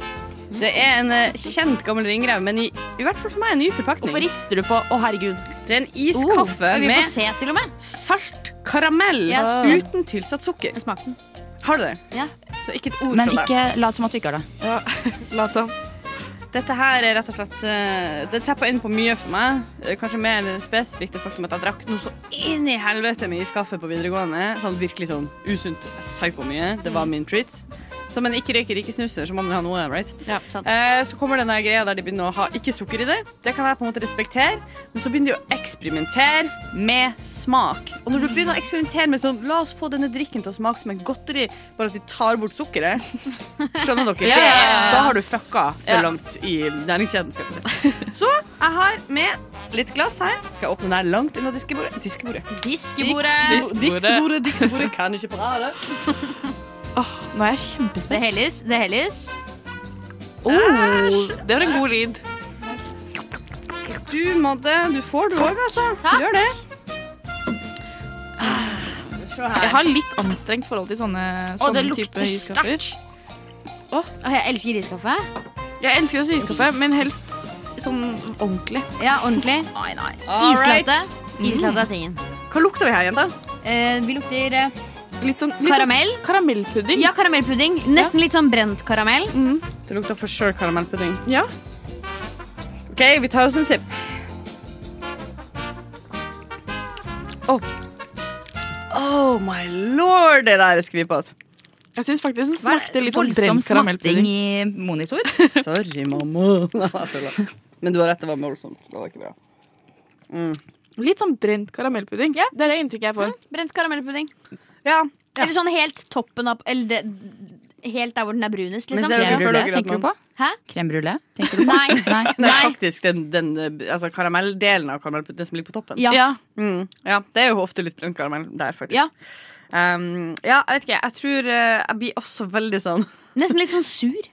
C: Det er en eh, kjent gammel ringrev, men i, i hvert fall for meg en ny
D: Hvorfor
C: forpakning.
D: rister du på Å, herregud.
C: Det er en
E: Oh,
C: iskaffe
E: vi får
C: med
E: se, til og med.
C: salt karamell
E: Yes.
C: uten tilsatt sukker.
E: Smak den.
C: Har du det?
E: Ja.
C: Så ikke et ord
D: Men
C: fra deg.
D: ikke lat som at du ikke har det.
G: Lat som.
C: Dette her er rett og slett eh, Det teppa inn på mye for meg. Eh, Kanskje mer spesifikt det faktum at jeg drakk noe så inn i helvete mye skaffe på videregående. Sånn virkelig sånn usunt psyko-mye. Det var min treat. Som en ikke røyker, ikke snuser, så må man jo ha noe, right?
E: Ja, sant.
C: Eh, så kommer den der greia der de begynner å ha ikke sukker i det. Det kan jeg på en måte respektere. Men så begynner de å eksperimentere med smak. Og når du begynner å eksperimentere med sånn La oss få denne drikken til å smake som en godteri, bare at vi tar bort sukkeret. Skjønner dere?
D: Ja, ja, ja, ja.
C: Det, da har du fucka for langt i næringskjeden. Skal jeg si. Så jeg har med litt glass her. Skal jeg åpne den her langt unna diskebordet? Diskebordet.
E: Diskebordet.
C: Diks- Diskebordet, diskebordet, kan ikke prate.
G: Nå er jeg kjempespent.
E: Det helles. Det helles.
G: Åh, det var en god lyd.
C: Du, Madde, du får du òg, altså. Gjør det.
G: Jeg har litt anstrengt forhold til sånne,
D: Å,
G: sånne
D: det
G: type
D: lukter
G: iskaffer.
D: sterkt.
E: Åh, jeg elsker riskaffe.
G: Jeg elsker også iskaffe, men helst sånn ordentlig.
E: Ja, ordentlig.
C: All right.
E: Islete. Islete er tingen.
C: Hva lukter vi her, jenta?
E: Mm. Eh, vi lukter eh,
G: Litt sånn litt sånn
E: karamell.
G: karamellpudding.
E: Ja, karamellpudding. Nesten litt sånn brent karamell.
C: Det lukter for sure karamellpudding.
G: Ja.
C: OK, vi tar oss en sipp. Oh. oh my lord, det der er altså. skvipete.
G: Jeg syns faktisk den smakte litt sånn
D: Voldsom
G: brent
D: smatting
G: karamellpudding.
D: i monitor.
C: Sorry, mamma. Nei, jeg tuller. Men du har rett, det var målsomt. Det var ikke bra.
G: Litt sånn brent karamellpudding. Ja, Mm. det er det inntrykket jeg får.
E: Brent karamellpudding.
C: Ja.
E: Eller sånn helt toppen opp Eller det, helt der hvor den er brunest,
C: Men
E: liksom.
C: ser dere-
D: Crème
C: føler
D: brulé,
C: dere at
D: tenker du på?
C: man-
E: Hæ?
D: Crème brulé? Tenker du på?
E: Nei.
D: Nei.
C: Nei,
E: Nei.
C: faktisk den, den eh, altså, karamelldelen av karamellpudding, den som ligger på toppen.
E: Ja.
G: Ja.
C: Mm, ja, det er jo ofte litt brun karamell der, faktisk.
E: Ja.
C: Um, ja, jeg vet ikke. Jeg tror eh, jeg blir også veldig sånn
E: Nesten litt sånn sur.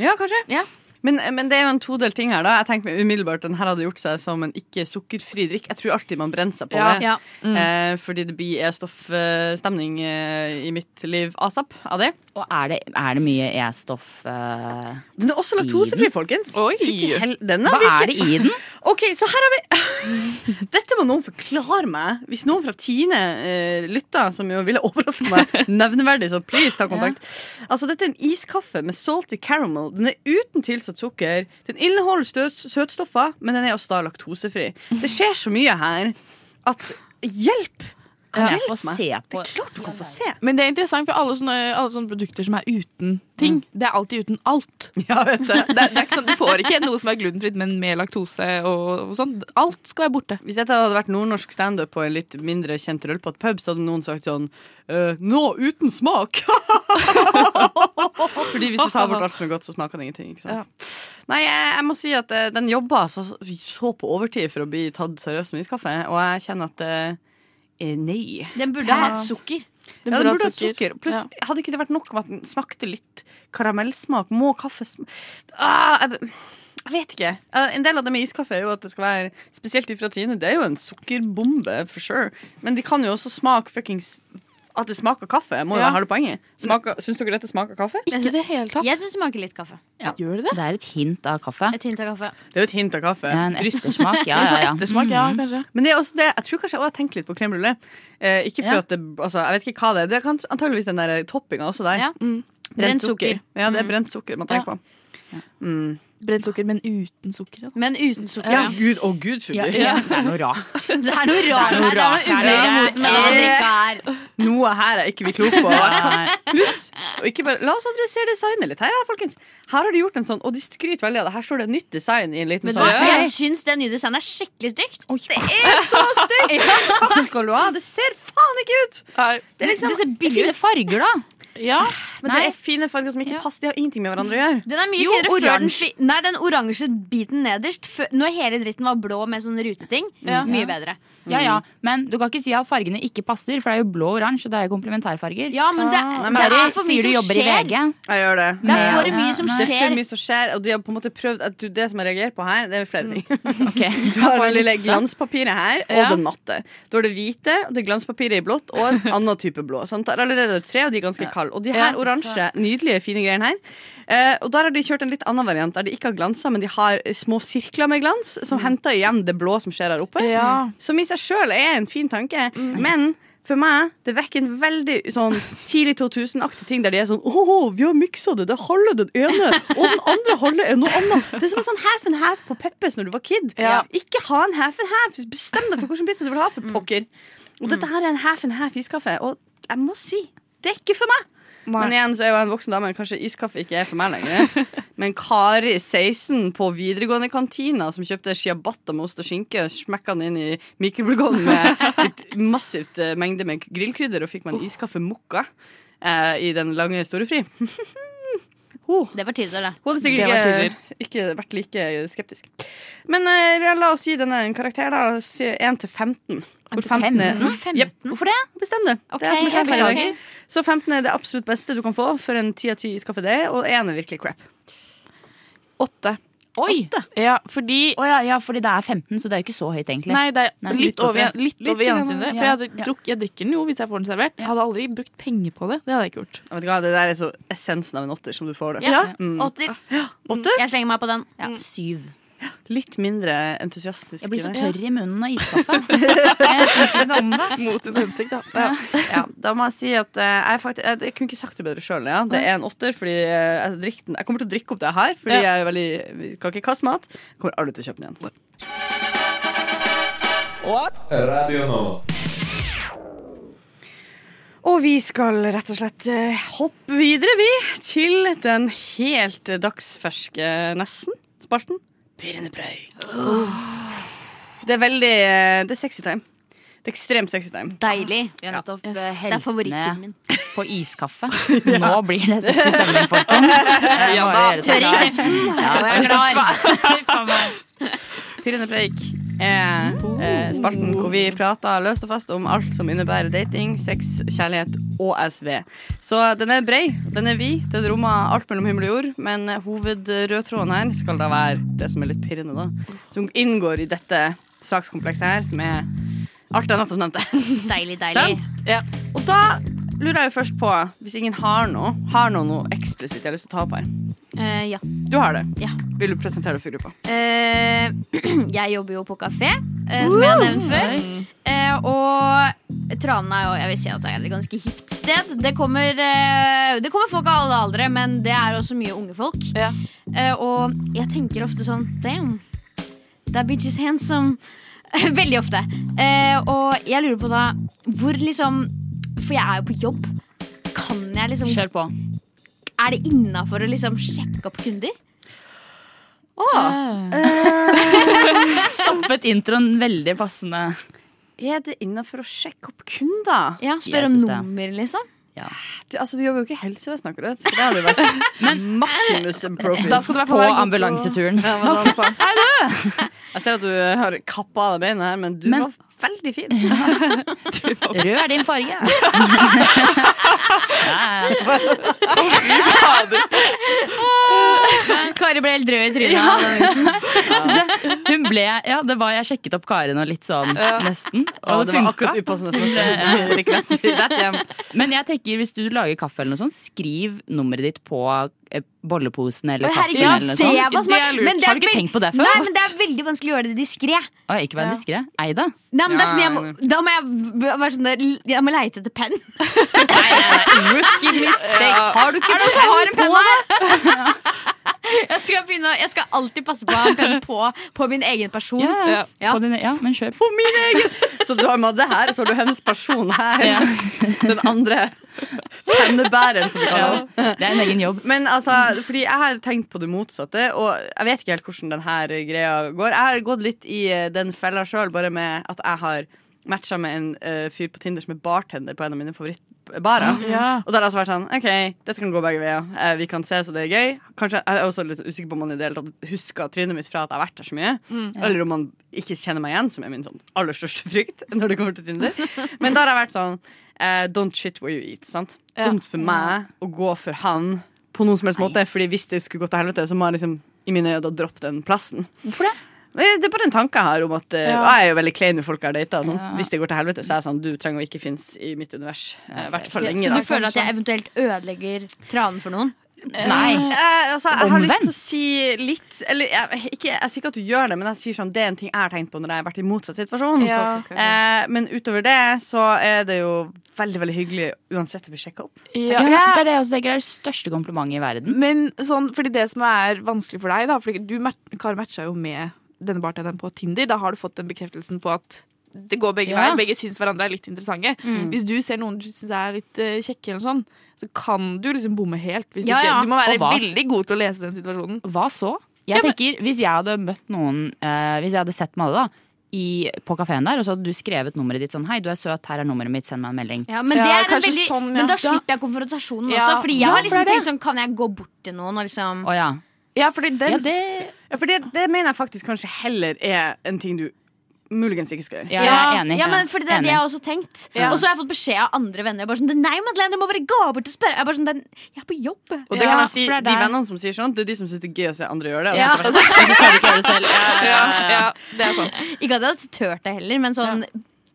C: Ja, kanskje.
E: Ja.
C: Men, men det er jo en todelt ting her. da Jeg tenkte meg umiddelbart Den her hadde gjort seg som en ikke sukkerfri drikk. Jeg tror alltid man brenner seg på
G: Ja.
C: det.
E: Ja.
C: Eh, fordi det blir E-stoffstemning eh, i mitt liv asap av det.
D: Og er det, er det mye E-stoff eh,
C: Den er også laktosefri, folkens.
G: Oi.
C: Fytti hel- den
D: Hva
C: har vi
D: er det i den?
C: Ok, så her har vi Dette må noen forklare meg. Hvis noen fra Tine eh, lytter, som jo ville overraske meg nevneverdig, så please ta kontakt. Altså, Dette er en iskaffe med salty caramel. Den er uten tilsatt sukker. Den inneholder stø- søtstoffer, men den er også da laktosefri. Det skjer så mye her at Hjelp!
D: Kan jeg
C: hjelp
D: få
C: meg.
D: se på
C: Klart du kan få se!
G: Men det er interessant, for alle sånne, alle sånne produkter som er uten ting, det er alltid uten alt.
C: Ja, vet du.
G: Mm. Det, er- det er ikke sånn, du får ikke noe som er glutenfritt, men med laktose og, og sånn. Alt skal være borte.
C: Hvis dette hadde vært nordnorsk standup på en litt mindre kjent rølpete pub, så hadde noen sagt sånn «Eh, Nå uten smak! Fordi hvis du tar bort alt som er godt, så smaker det ingenting. Ikke sant? Nei, jeg, jeg må si at eh, den jobba så, så på overtid for å bli tatt seriøst med iskaffe, og jeg kjenner at eh, eh, Nei.
E: Den burde ha hatt sukker.
G: Den
C: Ja, den burde
G: ha
C: hatt sukker. Pluss,
G: Ja.
C: hadde ikke det vært nok om at den smakte litt karamellsmak? Må kaffe sm ah, jeg, b- jeg vet ikke. Eh, en del av det med iskaffe er jo at det skal være Spesielt ifra Tine. Det er jo en sukkerbombe, for sure. Men de kan jo også smake fuckings At det smaker kaffe, må jo
G: Ja.
C: være halve poenget. Smaker, syns dere dette smaker kaffe?
G: Ikke i det hele tatt.
E: Jeg syns det smaker litt kaffe.
G: Gjør det det?
D: Det er et hint av kaffe.
E: Et hint av kaffe.
C: Det er jo et hint av kaffe.
D: Det er en
C: Dryss.
D: ettersmak. Ja, ja, ja.
G: Ettersmak, Mm. ja, kanskje.
C: Men det er også det, jeg tror kanskje jeg også har tenkt litt på crème brulé. Eh, ikke for
D: Ja.
C: at det altså, Jeg vet ikke hva det er. Det er kans- antageligvis den der toppinga også der.
E: Ja. Brent sukker.
C: Ja, det er brent sukker man tenker
G: Ja.
C: på.
G: Brent sukker, men uten sukker. Da.
E: Men uten sukker.
C: Ja,
E: Ja.
C: gud, å gud forby.
D: Ja, ja. Det er noe rart.
E: Det er noe rart her. Det
D: rart.
E: er noe umodent med den drikka her.
C: Noe her er ikke vi klok på.
D: Nei.
C: Pluss, og ikke bare, la oss adressere designet litt. Her, ja, folkens. her har de gjort en sånn, og de skryter veldig av det. Her står det nytt design i en liten
E: Vet du
C: sånn.
E: hva?
C: Ja.
E: Jeg syns det nye designet er skikkelig stygt.
C: Det er så stygt! Takk skal du ha. Det ser faen ikke ut!
E: Det,
C: er liksom-
E: det ser billig
D: Fine
E: ut.
D: farger, da.
G: Ja.
C: Men det er fine farger som ikke
E: Ja.
C: passer. De har ingenting med hverandre å gjøre.
E: Den er mye
C: Jo,
E: finere før den,
C: oransje.
E: fi- Nei, den oransje biten nederst, før- når hele dritten var blå med sånn ruteting,
G: Ja.
E: mye bedre.
D: Ja, ja. Men du kan ikke si at fargene ikke passer, for det er jo blå og oransje. og Det er jo komplementærfarger.
E: Ja, men det,
D: Nei,
E: det
D: men
E: er for mye
D: sier du
E: som
D: jobber i
E: skjer.
D: VG.
C: Jeg gjør det.
E: Det er for
D: Ja,
E: mye
D: ja,
E: som
C: Det
D: nei.
C: er for
E: skjer.
C: mye som skjer, og de har på en måte prøvd at du, Det som jeg reagerer på her, det er flere ting.
D: Ok.
C: Du har
G: får
C: det lille
G: lista.
C: glanspapiret her, og
G: Ja.
C: det matte. Du har det hvite, og det glanspapiret i blått, og en annen type blå. Sant? Det er allerede tre, og de er ganske kalde. Og de her
G: Ja,
C: oransje, nydelige, fine greiene her. Eh, og der har de kjørt en litt annen variant, der de ikke har glanser, men de har eh, små sirkler med glans, som henter igjen det blå som skjer her oppe.
G: Ja.
C: Som i seg sjøl er en fin tanke, men for meg, det vekker en veldig sånn tidlig 2000-aktig ting der de er sånn Åh, vi har miksa det. Det er halve den ene, og den andre halve er noe annet. Det er som en sånn half and half på Peppes når du var kid.
G: Ja.
C: Ikke ha en half and half. Bestem deg for hvilken bit du vil ha, for pokker. Og dette her er en half and half iskaffe, og jeg må si, det er ikke for meg. Men igjen så er jo jeg en voksen dame, kanskje iskaffe ikke er for meg lenger. Men Kari 16 på videregående kantina som kjøpte ciabatta med ost og skinke, smekka den inn i mikrobølgeovnen med et massivt eh, mengde med grillkrydder, og fikk meg en iskaffe mokka eh, i den lange storefri. Hun
E: Det var tider, det.
C: hun hadde sikkert
G: Det var
C: ikke, ikke vært like skeptisk. Men eh, ja, la oss gi denne en karakter, da. Si 1 til 15. Hvor 15 er
E: Mm, 15. Hvorfor det?
C: Bestem det.
E: Ok,
C: det er som er sjefen her i
E: ok.
C: dag. Så 15 er det absolutt beste du kan få for en 10 av 10 iskaffe det, og 1 er virkelig crap.
G: Åtte.
D: Oi!
G: Ja, fordi
D: Å ja, ja, fordi det er 15, så det er jo ikke så høyt, egentlig.
G: Nei, det er
D: Nei,
G: litt,
D: litt
G: over,
D: over-
G: litt
D: litt
G: over gjennomsnittet.
D: grann,
G: For jeg,
D: ja.
G: hadde
D: Ja.
G: drukk, jeg drikker den jo hvis jeg får den servert. Jeg hadde aldri brukt penger på det. Det hadde jeg ikke gjort.
C: Jeg vet ikke hva, Det der er så essensen av en åtter som du får det.
E: Ja.
C: Mm.
E: Åtter.
C: Åtte?
E: Jeg slenger meg på den.
D: Ja, syv.
C: Litt mindre entusiastisk. eh,
D: Jeg blir så
C: i det.
D: tørr i munnen av iskaffe. Jeg syns ikke om det.
G: Mot sin hensikt, da. Ja.
C: Ja, da må jeg si at eh, jeg, faktisk, jeg, jeg kunne ikke sagt det bedre sjøl. Ja. Det er en åtter, fordi eh, jeg, drikker den- jeg kommer til å drikke opp det her. Fordi
G: Ja.
C: jeg er veldig, vi kan ikke kaste mat. Jeg kommer aldri til å kjøpe den igjen.
F: Radio Nova.
C: Og vi skal rett og slett eh, hoppe videre, vi, til den helt dagsferske, nesten, spalten Pirrende preik. Det er veldig eh, Det er sexy time. Det er ekstremt sexy time.
E: Deilig.
D: Vi har nettopp
G: Yes.
D: eh,
E: Det er
D: helt
E: favorittfilmen
D: ned
E: min.
D: på iskaffe. Nå blir det sexy stemning, folkens. Ja da,
E: Tørr i kjeften. Og jeg er klar.
C: Pirrende preik er eh, spalten hvor vi prater løst og fast om alt som innebærer dating, sex, kjærlighet og SV. Så den er brei, den er vid, den rommer alt mellom himmel og jord. Men hovedrødtråden her skal da være det som er litt pirrende, da. Som inngår i dette sakskomplekset her, som er alt jeg nettopp nevnte.
E: Deilig, deilig.
C: Sant? Og da lurer jeg jo først på, hvis ingen har noe, har noen noe eksplisitt jeg har lyst til å ta opp her?
E: Eh, ja.
C: Du har det.
E: Ja.
C: Vil du presentere det for gruppa?
E: Eh, jeg jobber jo på kafé, eh, som jeg har nevnt før. Eh, og Tranen er jo jeg vil si at det er et ganske hipt sted. Det kommer, eh, det kommer folk av alle aldre, men det er også mye unge folk.
G: Ja.
E: Eh, og jeg tenker ofte sånn Damn, that bitch is handsome. Veldig ofte. Eh, og jeg lurer på da hvor liksom For jeg er jo på jobb. Kan jeg liksom
D: Kjør på.
E: Er det innafor å liksom sjekke opp kunder?
D: Stoppet introen veldig passende.
C: Er det innafor å sjekke opp kunder?
E: Ja,
D: Jeg
E: Spørre om
D: synes det.
E: nummer, liksom?
C: Du, altså, du jobber jo ikke i helsevesenet, akkurat. For det hadde jo vært maximus appropriate.
G: Da skal du i hvert
D: På
G: fall være god
D: ambulanseturen.
C: Ja, hva sa han på? Jeg ser at du eh, har kappa av deg beina her, men du
D: Men-
C: var veldig fin.
D: Rød er din farge. Ja, ja.
E: Kari ble helt rød i trynet. av den vitsen.
D: Hun ble Ja, det var jeg sjekket opp Karin og litt sånn, nesten.
C: Og
D: Og
C: det
D: det
C: var
D: funka.
C: akkurat upassende som at du gikk rett, rett hjem.
D: Men jeg tenker hvis du lager kaffe, eller noe sånt, skriv nummeret ditt på eh, bolleposen eller
E: Å,
D: kaffen.
E: herregud,
D: eller noe
E: se,
D: sånt.
E: jeg var smart.
D: Det er lurt.
E: Men det er
D: Har du ikke
E: vel-
D: tenkt på det før?
E: Nei, men det er veldig vanskelig å gjøre det diskré.
D: Oi, ikke vær diskré. Ei det.
E: Nei, men det er sånn, jeg må,
C: Ja,
E: da må jeg v- være sånn der, Jeg må leite etter penn.
D: Rookie mistake. Har du ikke
E: Jeg har en penn her! Jeg skal, begynne, å- jeg skal alltid passe på å ha en penn på, på min egen person.
D: Ja, ja.
E: Ja.
D: På dine- ja, men kjør på.
C: På min egen! Så du har Madde her, og så har du hennes person her.
D: Ja.
C: Den andre pennebæreren, som vi kaller henne.
D: Det er en egen jobb.
C: Men altså, fordi jeg har tenkt på det motsatte, og jeg vet ikke helt hvordan den her greia går. Jeg har gått litt i eh, den fella sjøl, bare med at jeg har matcha med en eh, fyr på Tinder som er bartender på en av mine favorittbarer.
G: Ja.
C: Og da har jeg også vært sånn OK, dette kan gå begge veier. Eh, vi kan ses, og det er gøy. Kanskje Jeg er også litt usikker på om han i det hele tatt husker trynet mitt fra at jeg har vært der så mye.
G: Mm,
C: Eller om han ikke kjenner meg igjen, som er min sånn aller største frykt når det kommer til Tinder. Men da har jeg vært sånn eh, Don't shit where you eat. sant?
G: Ja.
C: Dumt for meg å gå for han på noen som helst måte, Fordi hvis det skulle gå til helvete, så må jeg liksom i mine øyne da droppe den plassen.
D: Hvorfor det?
C: Men Det er bare en tanke jeg har om at eh,
G: Ja.
C: og Jeg er jo veldig klein når folk jeg har data. og sånn.
D: Ja.
C: Hvis det går til helvete, så er jeg sånn Du trenger å ikke finnes i mitt univers. I hvert fall
E: Så
C: lenge.
E: du
C: da.
E: føler at jeg eventuelt ødelegger tranen for noen?
D: Nei.
C: Eh, altså, jeg har lyst til
D: Omvendt.
C: å si litt Eller jeg, ikke, jeg sier ikke at du gjør det, men jeg sier sånn det er en ting jeg har tenkt på når jeg har vært i motsatt situasjon.
G: Ja.
C: Eh, men utover det så er det jo veldig veldig hyggelig uansett å bli sjekka opp.
G: Ja.
D: Ja, det er det jeg også tenker er det største komplimentet i verden.
G: Men sånn, fordi det som er vanskelig for deg, da Fordi du mat- Kari matcha jo med denne bartenderen på Tinder. Da har du fått den bekreftelsen på at det går begge
D: Ja.
G: veier. Begge syns hverandre er litt interessante. Hvis du ser noen du syns er litt eh, kjekke, eller sånn, så kan du liksom bomme helt. Hvis
E: Ja,
G: du,
E: ja.
G: ikke, du må være
D: Og hva-
G: veldig god til å lese den situasjonen.
D: Hva så? Jeg tenker, Hvis jeg hadde møtt noen eh, Hvis jeg hadde sett Madde da i, på kafeen der, og så hadde du skrevet nummeret ditt sånn Hei, du er søt, her er nummeret mitt, send meg en melding.
E: Ja, men, det
G: Ja,
E: er en
G: kanskje
E: veldig,
G: sånn, ja.
E: men da
G: Da-
E: slipper jeg konfrontasjonen
G: Ja.
E: også. Fordi jeg
G: Ja,
E: har
G: for
E: liksom
G: det er
E: tenkt sånn, kan jeg gå bort til noen og liksom
D: Å ja.
G: Ja, fordi den,
D: Ja, det
C: Ja, for det, det mener jeg faktisk kanskje heller er en ting du muligens ikke skal gjøre.
D: Ja, jeg er enig.
E: Ja, men fordi det er
D: Enig.
E: det jeg har også tenkt.
G: Ja.
E: Og så har jeg fått beskjed av andre venner. Bare sånn, Nei, Madeleine, du må bare gå bort og spørre. Jeg er bare sånn, «Den- jeg er på jobb.
C: Og det
D: Ja,
C: kan jeg si,
D: for det er
C: De
D: der-
C: vennene som sier sånt, det er de som syns det er gøy å se andre gjøre det. Altså, og
E: Ja.
C: så- og så kan de ikke gjøre det selv.
G: ja, ja, det er sant.
E: Ikke at jeg hadde tørt det heller, men sånn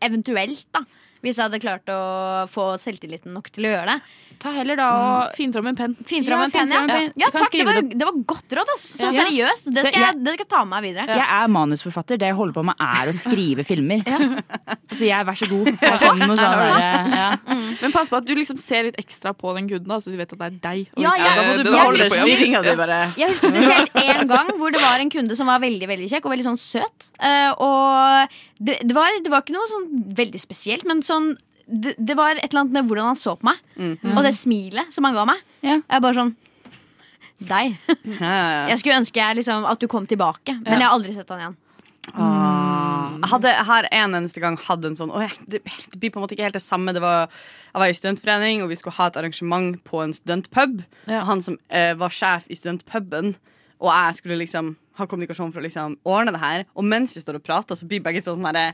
E: eventuelt, da. Hvis jeg hadde klart å få selvtilliten nok til å gjøre det.
D: Ta heller da
E: Mm.
D: og
G: Finn fram en penn.
E: Finn fram
D: Ja,
E: en
D: finn
E: penn, ja.
D: fram en penn.
E: ja
D: Du kan
E: takk, det
D: skrive
E: var,
D: det
E: det var godt råd, ass. Sånn
D: Ja.
E: seriøst. Det
D: Så
E: skal jeg,
D: jeg-
E: det skal jeg ta med meg videre.
D: Jeg er manusforfatter. Det jeg holder på med, er å skrive filmer. Så jeg, vær så god. Jeg kan noe sånn, der, ja.
G: Men pass på at du liksom ser litt ekstra på den kunden, da, så de vet at det er deg. og
E: Ja,
G: ikke er
E: ja,
C: Da må
G: det
C: Altså, du
G: den
C: beholde
G: andre på jobb.
C: styringa di, bare.
E: Jeg husker spesielt én gang hvor det var en kunde som var veldig veldig kjekk og veldig sånn søt. Eh, og det, det, var, det var ikke noe sånn veldig spesielt, men sånn det, det var et eller annet med hvordan han så på meg,
C: Mm.
E: og det smilet som han ga meg.
D: Ja.
E: Jeg bare sånn Deg.
C: Ja, ja.
E: Jeg skulle ønske jeg liksom, at du kom tilbake, men jeg har aldri sett han igjen.
C: Jeg hadde, jeg har en eneste gang hatt en sånn «Åh, jeg- Det det blir på en måte ikke helt det samme. Det var, jeg var i studentforening, og vi skulle ha et arrangement på en studentpub. Og Han som eh, var sjef i studentpuben, og jeg skulle liksom ha kommunikasjon for å liksom ordne det her. Og mens vi står og prater, så blir begge sånn herre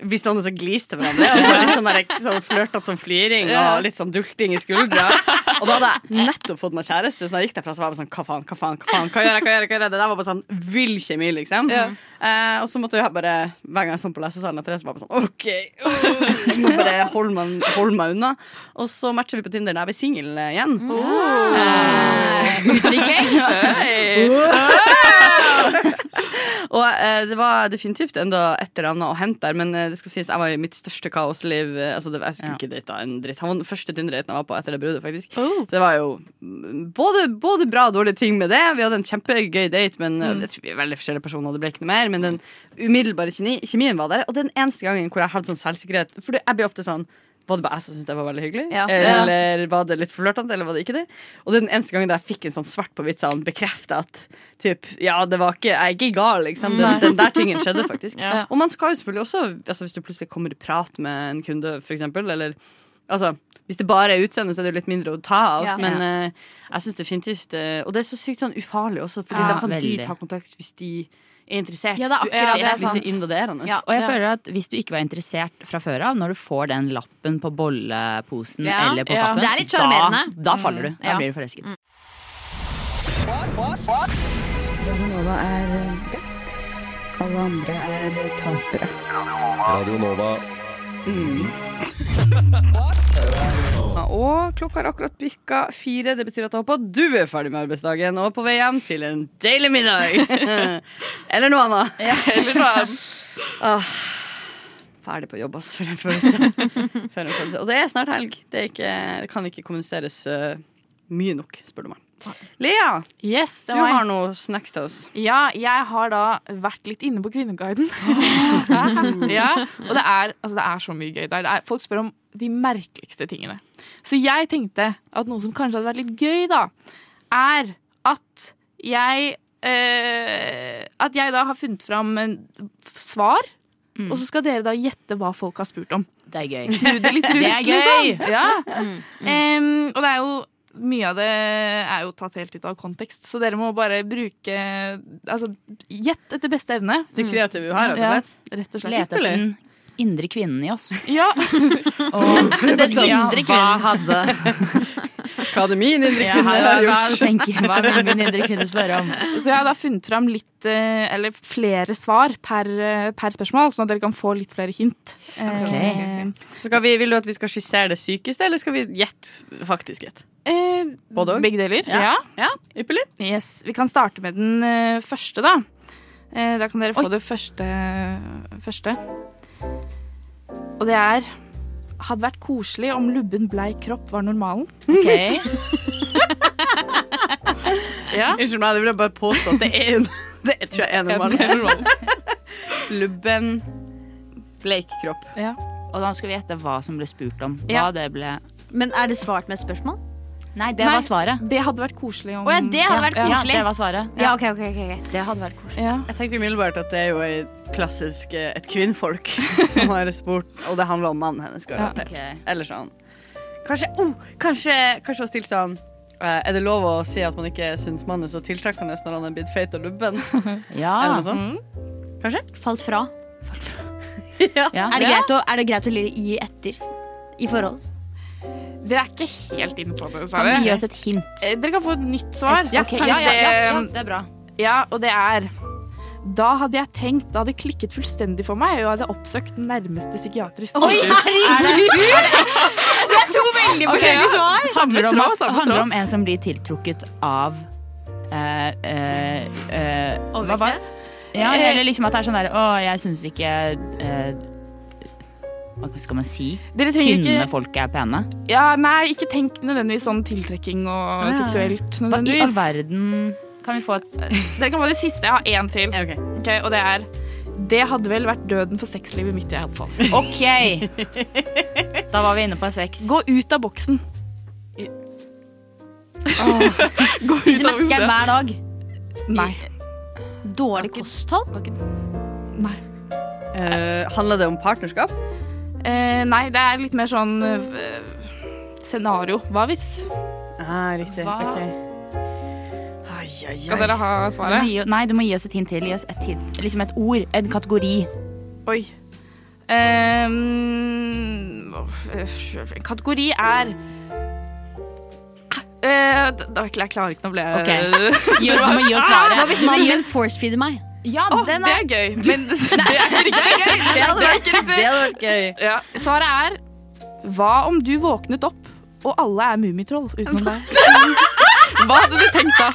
C: vi stående og gliser til hverandre. Og så litt sånn, der- sånn flørtete sånn fliring og litt sånn dulting i skuldra. Og da hadde jeg nettopp fått meg kjæreste, så da jeg gikk derfra så var jeg bare sånn Hva faen, hva faen, hva faen, hva gjør jeg, hva gjør jeg? hva gjør jeg? Det der var bare sånn vill kjemi, liksom. Eh, og så måtte jeg bare, hver gang jeg sånn på lesesalen etter det, så var jeg bare sånn OK, åh, jeg må bare holde meg, holde meg unna. Og så matcher vi på Tinder da jeg ble singel eh, igjen.
E: Eh,
C: Og eh, det var definitivt enda et eller annet å hente der, men eh, det skal sies jeg var i mitt største kaosliv. Eh, altså, det, jeg skulle
D: Ja.
C: ikke date en dritt. Han var den første Tinder-daten jeg var på etter det bruddet, faktisk.
E: Oh.
C: Så det var jo mm, både, både bra og dårlige ting med det. Vi hadde en kjempegøy date, men
E: Mm.
C: eh, jeg tror vi er veldig forskjellige personer, og det ble ikke noe mer. Men den umiddelbare kjemi, kjemien var der, og det er den eneste gangen hvor jeg hadde sånn selvsikkerhet. For det- jeg blir ofte sånn var det bare jeg som syntes det var veldig hyggelig?
E: Ja.
C: Eller var det litt flørtete? Eller var det ikke det? Og det er den eneste gangen der jeg fikk en sånn svart på hvitt sånn bekrefta at typ, ja, det var ikke, jeg er ikke gal, liksom. Den, den der tingen skjedde faktisk. Og man skal jo selvfølgelig også, altså hvis du plutselig kommer i prat med en kunde, for eksempel, eller altså hvis det bare er utseende, så er det jo litt mindre å ta av.
E: Ja.
C: Men eh, jeg syns definitivt eh, Og det er så sykt sånn ufarlig også, Fordi
D: Ja,
C: da kan
D: veldig.
C: de ta kontakt hvis de er interessert.
E: Ja, det
C: Du-
E: er akkurat
C: det
E: det,
C: er så
E: sant.
C: lite invaderende.
E: Ja.
D: Og jeg føler at hvis du ikke var interessert fra før av, når du får den lappen på bolleposen
E: Ja,
D: eller på
G: ja.
D: kaffen,
E: Det er litt
D: da,
E: sjarmerende. Mm.
D: da faller du. Da
E: ja.
D: blir du forelsket.
F: Radio Nova.
C: Og klokka har akkurat bikka fire. Det betyr at jeg håper at du er ferdig med arbeidsdagen og på vei hjem til en deilig middag. Eller noe annet. Åh, ferdig på jobb, altså, ass, for en følelse. For en følelse. Og det er snart helg. Det, er ikke, det kan ikke kommuniseres eh, mye nok, spør du meg. Lea,
G: Yes, det
C: du
G: var jeg.
C: har noe snacks til oss.
G: Ja, jeg har da vært litt inne på Kvinneguiden. ja, og det er, altså det er så mye gøy der. Det er, folk spør om de merkeligste tingene. Så jeg tenkte at noe som kanskje hadde vært litt gøy, da, er at jeg eh, At jeg da har funnet fram en svar, og så skal dere da gjette hva folk har spurt om.
D: Det er gøy.
G: Snu det litt rundt,
D: Det er gøy. Mm,
G: liksom. Ja. Em, og det er jo mye av det er jo tatt helt ut av kontekst, så dere må bare bruke Altså, gjett etter beste evne.
C: Det kreative her, rett og
G: Ja,
C: slett.
G: rett og slett.
D: Lete etter den indre kvinnen i oss.
G: Ja.
D: Og, den
E: indre kvinnen.
D: Hva hadde
C: Hva hadde min indre
D: Ja,
C: kvinne
D: hva,
C: har
D: hva,
C: gjort?
D: tenker, hva vil min indre kvinne spørre om?
G: Så jeg har da funnet fram litt, eh, eller flere svar per, eh, per spørsmål, sånn at dere kan få litt flere hint. Eh,
D: Ok.
C: Skal vi, vil du at vi skal skissere det sykeste, eller skal vi gjette faktisk gjette?
G: eh,
C: Både og?
G: Begge deler.
C: Ja. Ja, ypperlig.
G: Yes. Vi kan starte med den eh, første, da. Eh, da kan dere få det første, første. Og det er Hadde vært koselig om lubben bleik kropp var normalen.
D: Ok.
G: Ja.
C: Unnskyld meg, det vil jeg bare påstå at det er en Det er- tror jeg er normal. Lubben Bleik kropp.
D: Og da skal vi gjette hva som ble spurt om. Hva
G: Ja.
D: det ble
E: Men er det svart med et spørsmål?
D: Nei, det
G: Nei.
D: var svaret.
G: Det hadde vært koselig om
E: Å ja, det hadde vært
D: Ja,
E: koselig.
D: det var svaret.
E: Ja, ok, ok, ok, ok.
D: Det hadde vært koselig.
G: Ja.
C: Jeg tenkte umiddelbart at det er jo ei klassisk eh, et kvinnfolk som har spurt, og det handler om mannen hennes, garantert.
D: Ok.
C: Eller sånn Kanskje oh, Kanskje Kanskje hun stilte sånn eh, Er det lov å si at man ikke syns mannen er så tiltrekkende når han er blitt feit og lubben? Eller
D: Ja.
C: noe sånt?
E: Falt fra.
D: ja.
E: Er det, greit å, er det greit å li- gi etter i forhold?
G: Dere er ikke helt inne på det,
D: Kan du gi
G: dessverre.
D: oss et hint?
G: Eh, Dere kan få et nytt svar.
D: Ok, ja, ja, ja, ja,
G: Kanskje-
D: det er bra.
G: eh, Ja, og det er Da hadde jeg tenkt, da hadde det klikket fullstendig for meg, og jeg hadde oppsøkt den nærmeste psykiatrisk.
E: herregud! Det er to veldig forskjellige svar.
D: handler om,
G: tråd, samme
D: handler
G: tråd.
D: om en som blir tiltrukket av eh, eh, eh, hva var det?
E: Overvektige?
D: Ja, eller liksom at det er sånn der Å, jeg syns ikke eh, Hva skal man si?
G: Dere trenger
D: Tynne
G: ikke
D: folk er pene.
G: Ja, nei, ikke tenk nødvendigvis sånn tiltrekking og
C: Ja.
G: seksuelt
D: Hva i all
G: nødvendigvis.
D: verden kan vi få et
G: Dere kan få det siste. Jeg har én til,
C: Ja, ok.
G: Ok, og det er Det hadde vel vært døden for sexlivet mitt, i alle fall.
D: OK! Da var vi inne på sex.
G: Gå ut av boksen. Gå
E: De som merker hver dag.
G: Nei.
E: Dårlig kosthold.
G: nei.
C: Eh, handler det om partnerskap?
G: Eh, nei, det er litt mer sånn eh, scenario. Hva hvis?
C: Ah, riktig.
D: Hva?
C: Ok. Ai, ai, ai.
G: Skal dere ha
D: Du må
G: svaret?
D: gi, nei, du må gi oss et hint til. Gi oss et hint. Liksom et ord. En kategori.
G: Oi. Ehm, åh, øh, en kategori er Eh, da, da, Jeg klarer ikke, nå ble jeg
D: Ok. Gi oss, du må gi oss svaret.
E: Hva hvis mannen min forcefeeder meg?
D: Ja,
G: Ah, Åh,
D: den
G: det
D: er
G: er gøy, men det er ikke riktig.
C: Det hadde vært, det hadde vært gøy.
G: Ja. Svaret er Hva om du våknet opp, og alle er mummitroll utenom deg? Hva hadde du tenkt da?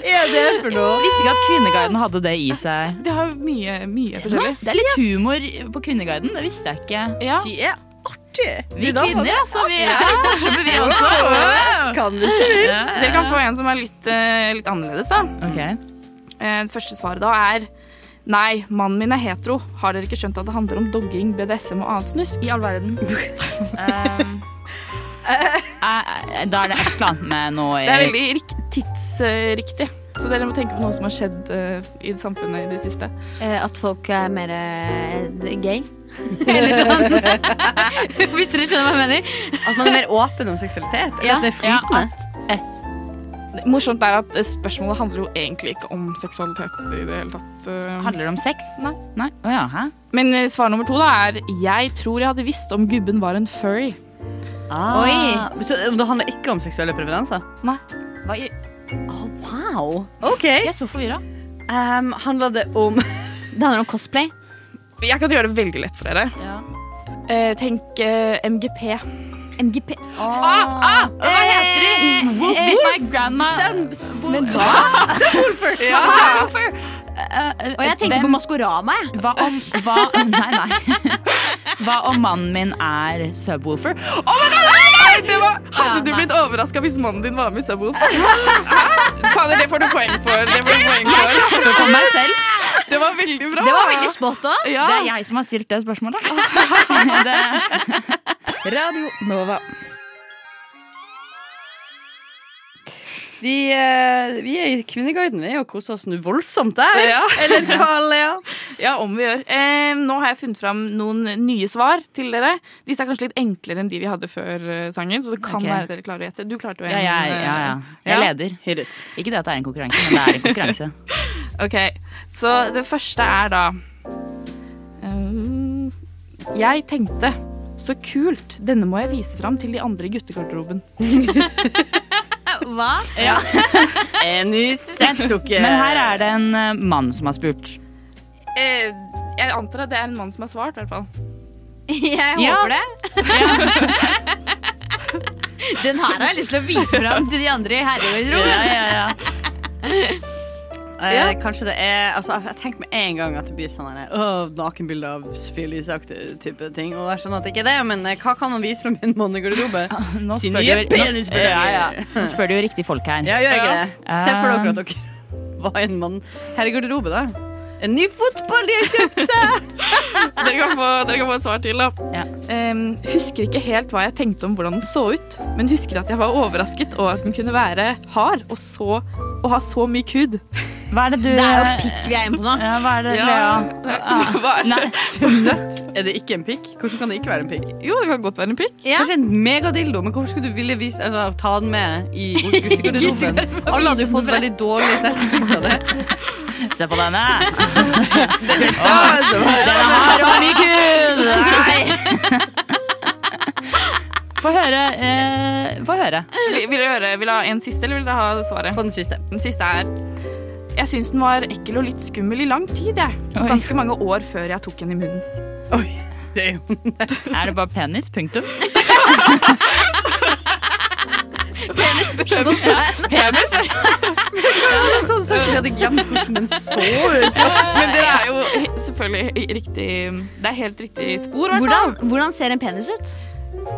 C: Er det for noe?
D: Visste ikke at Kvinneguiden hadde det i seg.
G: Det har mye, mye forskjellig.
D: Det er litt humor på Kvinneguiden. Det visste jeg ikke.
G: Ja.
C: De er artige.
D: Vi kvinner, altså. Vi er litt morsomme, vi også.
C: Kan hvis vi vil.
G: Dere kan få en som er litt, eh, litt annerledes, da.
D: Ok.
G: Eh, Det første svaret da er Nei, mannen min er hetero. Har dere ikke skjønt at det handler om dogging, BDSM og annet snusk?
D: I all verden. Ehm, eh, da er det et eller annet med noe i-
G: Det er veldig rik- tidsriktig. Så dere må tenke på noe som har skjedd eh, i samfunnet i det siste.
E: Eh, At folk er mer eh, gay. Eller sånn. Hvis dere skjønner hva jeg mener.
C: At man er mer åpen om seksualitet. Eller
E: Ja.
C: at det er
D: ja,
C: flytende.
D: at-
G: Det- Morsomt er at eh, spørsmålet handler jo egentlig ikke om seksualitet i det hele tatt. eh.
D: Handler det om sex?
G: Nei.
D: Nei? Å ja, hæ?
G: Men eh, svar nummer to da er Jeg tror jeg hadde visst om gubben var en furry.
C: Ah.
E: Oi.
C: Så det handler ikke om seksuelle preferanser?
D: Hva, jeg
C: Wow. OK.
D: jeg er så forvirra.
C: Um, handler det om
E: Det handler om cosplay.
G: Jeg kan gjøre det veldig lett for dere.
D: Ja.
G: Eh, tenk eh, MGP.
E: MGP
G: Ah,
D: Hva heter de? My grandma
E: Men hva?
D: Eh,
E: Og jeg tenkte på Maskorama. jeg.
D: Hva om hva, Nei, nei. Hva om mannen min er subwoofer?
G: Hadde du blitt overraska hvis mannen din var med i Subwoofer? Hæ? Fader, det får du poeng for. Det, får du poeng for.
D: Det for meg selv.
G: det var veldig bra.
E: Det var veldig spot on.
G: ja.
D: Det er jeg som har stilt det spørsmålet. Det,
C: Radio Nova? Vi, eh, vi er i Kvinneguiden vi, og koser oss nå voldsomt der.
G: Ja.
C: Eller hva, Lea?
G: ja, om vi gjør. Eh, nå har jeg funnet fram noen nye svar til dere. Disse er kanskje litt enklere enn de vi hadde før eh, sangen. Så det kan
D: Ok.
G: være dere klarer å gjette. Du klarte jo eh,
D: ja, ja, ja, ja.
G: Ja.
D: Jeg leder.
C: Hyr ut.
D: Ikke det at det er en konkurranse, men det er en konkurranse.
G: Ok, så det første er da Eh, Jeg tenkte Så kult! Denne må jeg vise fram til de andre i guttegarderoben.
E: Hva?
D: Men her er det en eh, mann som har spurt.
G: Eh, jeg antar at det er en mann som har svart, i hvert fall.
E: Jeg håper
D: Ja.
E: det. Den her har jeg lyst til å vise fram til de andre i herregarderoben.
C: Eh, kanskje det er altså, jeg, jeg tenker med en gang at det blir sånn her, «Åh, nakenbilde av Sofie Elise-aktig type ting. Og jeg skjønner at det ikke er det, men eh, hva kan man vise fra min mann i garderobe?
D: Nå
C: Sin
D: spør,
C: nye
D: du, nå,
C: penisbilder.
D: ja, ja. nå spør du jo riktig folk her.
C: Ja, gjør ikke
G: Ja.
C: det. Se for dere at dere var en mann her i garderobe, da. En ny fotball de har kjøpt!
G: Dere kan få, dere kan få et svar til, da.
D: Ja.
G: Em, husker ikke helt hva jeg tenkte om hvordan den så ut, men husker at jeg var overrasket over at den kunne være hard og, så, og ha så myk hud.
D: Hva er det du
E: Det er jo pikk vi er inne på nå.
D: Ja, hva er det, Lea?
G: Hva er det?
D: Nei,
C: Nøtt. Er det ikke en pikk? Hvordan kan det ikke være en pikk?
G: Jo, det kan godt være en pikk.
E: Ja.
C: Kanskje en megadildo, men hvorfor skulle du ville vise, altså, ta den med i guttegarderoben?
E: Guttegarderoben.
C: Alle hadde jo fått veldig dårlig selvtillit av det.
D: se på denne!
C: Altså,
D: Den har og mye kul! Få høre. Eh, få høre.
G: Vi- Vil dere høre- vil dere ha en siste, eller vil dere ha svaret?
C: På den siste.
G: Den siste er Jeg syns den var ekkel og litt skummel i lang tid, jeg.
D: Oi.
G: Ganske mange år før jeg tok den i munnen.
C: Det er jo
D: Er det bare penis? Punktum.
E: Penis spørsmålstegn.
D: Penis først.
C: sånn sagt, jeg hadde glemt hvordan den så ut.
G: Men det er jo he- selvfølgelig riktig Det er helt riktig spor. i hvert fall.
E: Hvordan, hvordan ser en penis ut?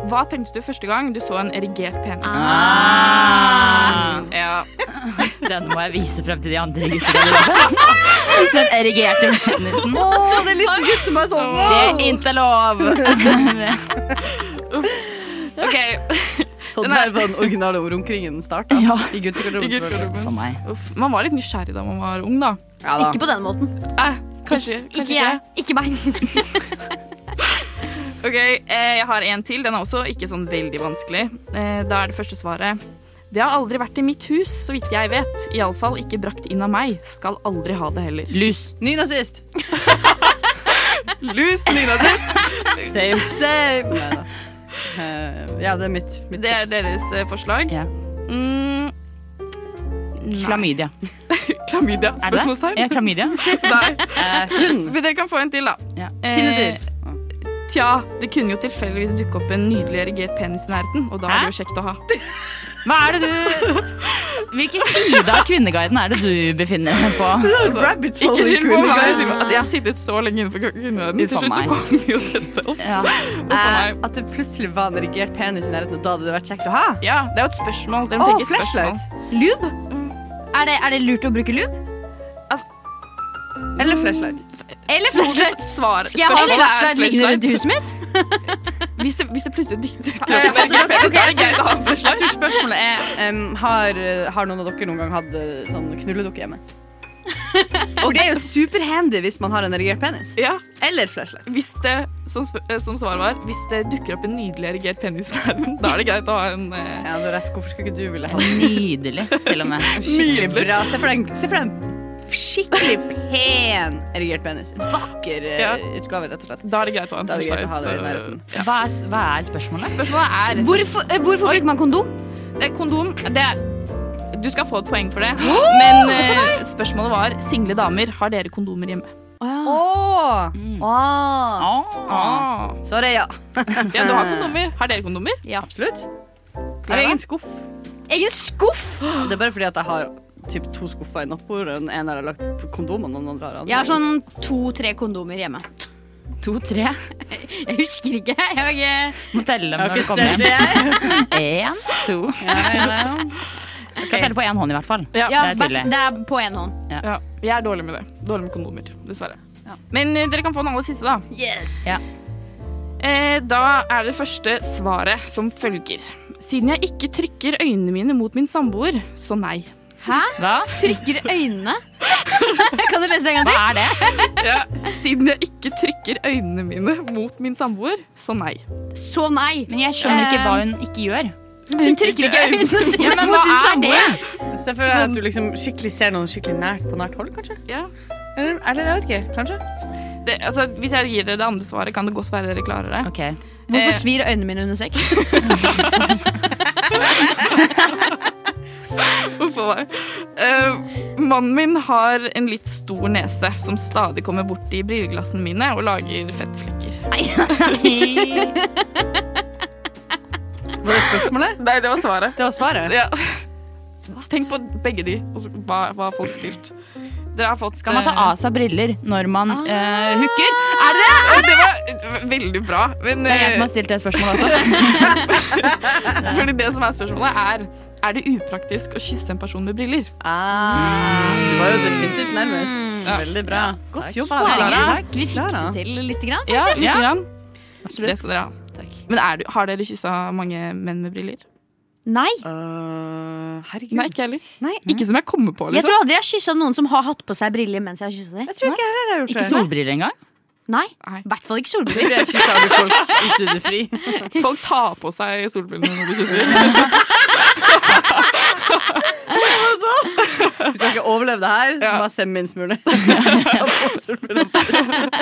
G: Hva tenkte du første gang du så en erigert penis? Ah. Ja.
D: Ah. Den må jeg vise frem til de andre guttegarderoben. Den erigerte penisen.
C: Å, det er en liten gutt som er sånn.
D: Det er ikke lov!
G: OK.
C: Og
G: Den er-
C: der var den originale ordomkringen starta.
D: Ja.
C: I
G: I
C: guttegarderoben. selvfølgelig.
G: guttegarderoben.
D: Som meg.
G: Uff, man var litt nysgjerrig da man var ung, da.
C: Ja, da.
E: Ikke på den måten.
G: Eh, kanskje, kanskje
E: Ikke jeg. Ikke meg.
G: Ok, eh, jeg har en til. Den er også ikke sånn veldig vanskelig. Eh, da er det første svaret. Det har aldri vært i mitt hus, så vidt jeg vet. Iallfall ikke brakt inn av meg. Skal aldri ha det heller.
D: Lus.
C: Nynazist. Lus nynazist. Same, same. Neida. Eh, ja, det er mitt. mitt
G: Det er deres eh, forslag.
D: Ja.
G: Mm,
D: Klamydia.
G: klamydia?
D: Er det det? Ja,
G: Spørsmålstegn?
D: klamydia.
G: Nei.
D: Eh,
G: Men dere kan få en til, da.
D: Ja.
G: Eh, Tja, det kunne jo tilfeldigvis dukke opp en nydelig erigert penis i nærheten, og da
D: Hæ?
G: er det jo kjekt å ha.
D: Hva er det du Hvilken side av Kvinneguiden er det du befinner deg på?
C: Altså, Rabbit hole
G: Ikke
C: i
G: skyld på meg.
C: kvinneguiden.
G: skyld på- Altså, jeg har sittet så lenge innenfor kvinneverden. Til
D: Uff a
G: slutt så
D: meg.
G: kom jo dette opp.
D: Ja.
G: Uff a
C: Eh,
G: meg.
C: At det plutselig var en erigert penis i nærheten, og da hadde det vært kjekt å ha.
G: Ja, det er jo et spørsmål. Dere
C: Å,
G: må tenke et spørsmål.
C: flashlight.
E: Lube? Er det, er det lurt å bruke lube?
C: Eller flashlight.
E: Eller
G: Tror du
E: flashlight?
G: svar-
E: Skal jeg ha
G: spørsmålet er
E: flashlight liggende rundt huset mitt?
G: Hvis det, hvis det plutselig dykker opp
C: Eh,
G: en erigert penis, da er det greit å ha en
C: Jeg
G: flashlight.
C: tror spørsmålet er em, har, har noen av dere noen gang hatt eh, sånn knulledukke hjemme? Og det er jo superhandy hvis man har en erigert penis.
G: Ja,
C: Eller flashlight.
G: hvis det, som, sp- eh, som svaret var, hvis det dukker opp en nydelig erigert penis i nærheten, da er det greit å ha en eh,
C: Ja, du har rett. Hvorfor skulle ikke du ville ha
D: Nydelig, til og med.
C: Skikkelig
G: Nydelig.
C: bra. Se for deg en- se for deg en skikkelig pen erigert penis. En Vakker eh,
G: Ja.
C: utgave, rett og slett.
G: Da er det greit å ha en
C: Da er det greit å ha det i
G: flashlight, eh,
C: nærheten.
D: Hva er, hva er spørsmålet?
G: Spørsmålet er
E: Hvorfor, eh, hvorfor bruker man kondom?
G: Det er Kondom, det er Du skal få et poeng for det. Men eh, spørsmålet var single damer, har dere kondomer hjemme?
C: Åh! Åh.
D: Ah.
C: Svaret er ja.
G: Ja, du har kondomer. Har dere kondomer?
C: Absolutt. Jeg har egen skuff.
E: Egen skuff?
C: Det er bare fordi at jeg har typ, to skuffer i nattbordet. Den ene har jeg lagt på kondomen, og den andre har jeg
E: Jeg har sånn to-tre kondomer hjemme.
D: To-tre.
E: Jeg husker ikke. Jeg har ikke
D: Må telle
C: Jeg
D: når
C: har
D: du
C: ikke
D: kommer
C: sett
D: hjem.
C: det, jeg.
D: Én, to Kan telle på én hånd, i hvert fall.
G: Ja.
E: ja,
D: det er
E: hvert-
D: tydelig.
E: det er på én hånd.
G: Ja, jeg er dårlig med det. Dårlig med kondomer, dessverre. Men eh, dere kan få den aller siste, da.
D: Ja.
G: Eh, da er det første svaret som følger. Siden jeg ikke trykker øynene mine mot min samboer, så nei.
D: Hva?
E: Trykker øynene. kan du lese det en gang
D: Hva
E: til?
D: er det?
G: Ja. Siden jeg ikke trykker øynene mine mot min samboer, så nei.
E: Så nei.
D: Men jeg skjønner ikke hva hun ikke gjør.
E: Hun trykker ikke øynene sine
D: men
E: mot
D: hva
E: sin
D: er
E: samboer.
C: Se for deg at du liksom skikkelig ser noen skikkelig nært på nært hold, kanskje.
G: Ja.
C: Eller, eller jeg vet ikke. Kanskje.
G: Det, altså, hvis jeg gir dere det andre svaret, kan det godt være dere klarer det.
D: Ok,
E: Hvorfor
G: Eh.
E: svir øynene mine under sex?
G: Hvorfor var det? Eh, mannen min har en litt stor nese som stadig kommer borti brilleglassene mine og lager fettflekker.
C: Var det spørsmålet?
G: Nei, det var svaret.
C: Det var svaret.
G: Ja. Tenk på begge de, og så hva, hva har folk stilt. Dere har fått eh,
D: Skal man ta av seg briller når man
C: Ah.
D: eh, hooker? Er det det?
G: Det var veldig bra. Men
D: Det er jeg som har stilt det spørsmålet også.
G: eh, fordi det som er spørsmålet, er er det upraktisk å kysse en person med briller.
C: Ah, du var jo definitivt nærmest.
G: Ja.
C: Veldig bra. Godt jobba. Klara.
E: Herregud, vi fikk
C: Klara.
E: det til lite grann.
G: Ja, lite
D: Ja.
G: grann. Det
D: Absolutt.
G: skal dere ha.
D: Takk.
G: Men er du, har dere kyssa mange menn med briller?
E: Nei.
C: Øh, herregud.
G: Nei, ikke heller.
C: Nei.
G: Ikke som jeg kommer på,
E: Jeg
G: liksom.
E: tror aldri jeg har kyssa noen som har hatt på seg briller mens jeg har kyssa dem.
C: Jeg tror ikke jeg heller har gjort
D: Ikke
C: det.
D: solbriller engang?
E: Nei,
G: Nei.
E: i hvert fall ikke solbriller.
C: Blir jeg kyssa av folk i studiefri?
G: Folk tar på seg solbrillene når de kysser.
C: Hvis jeg skal overleve det her, så
G: Ja.
C: bare send minst mulig. Ta på solbrillene først.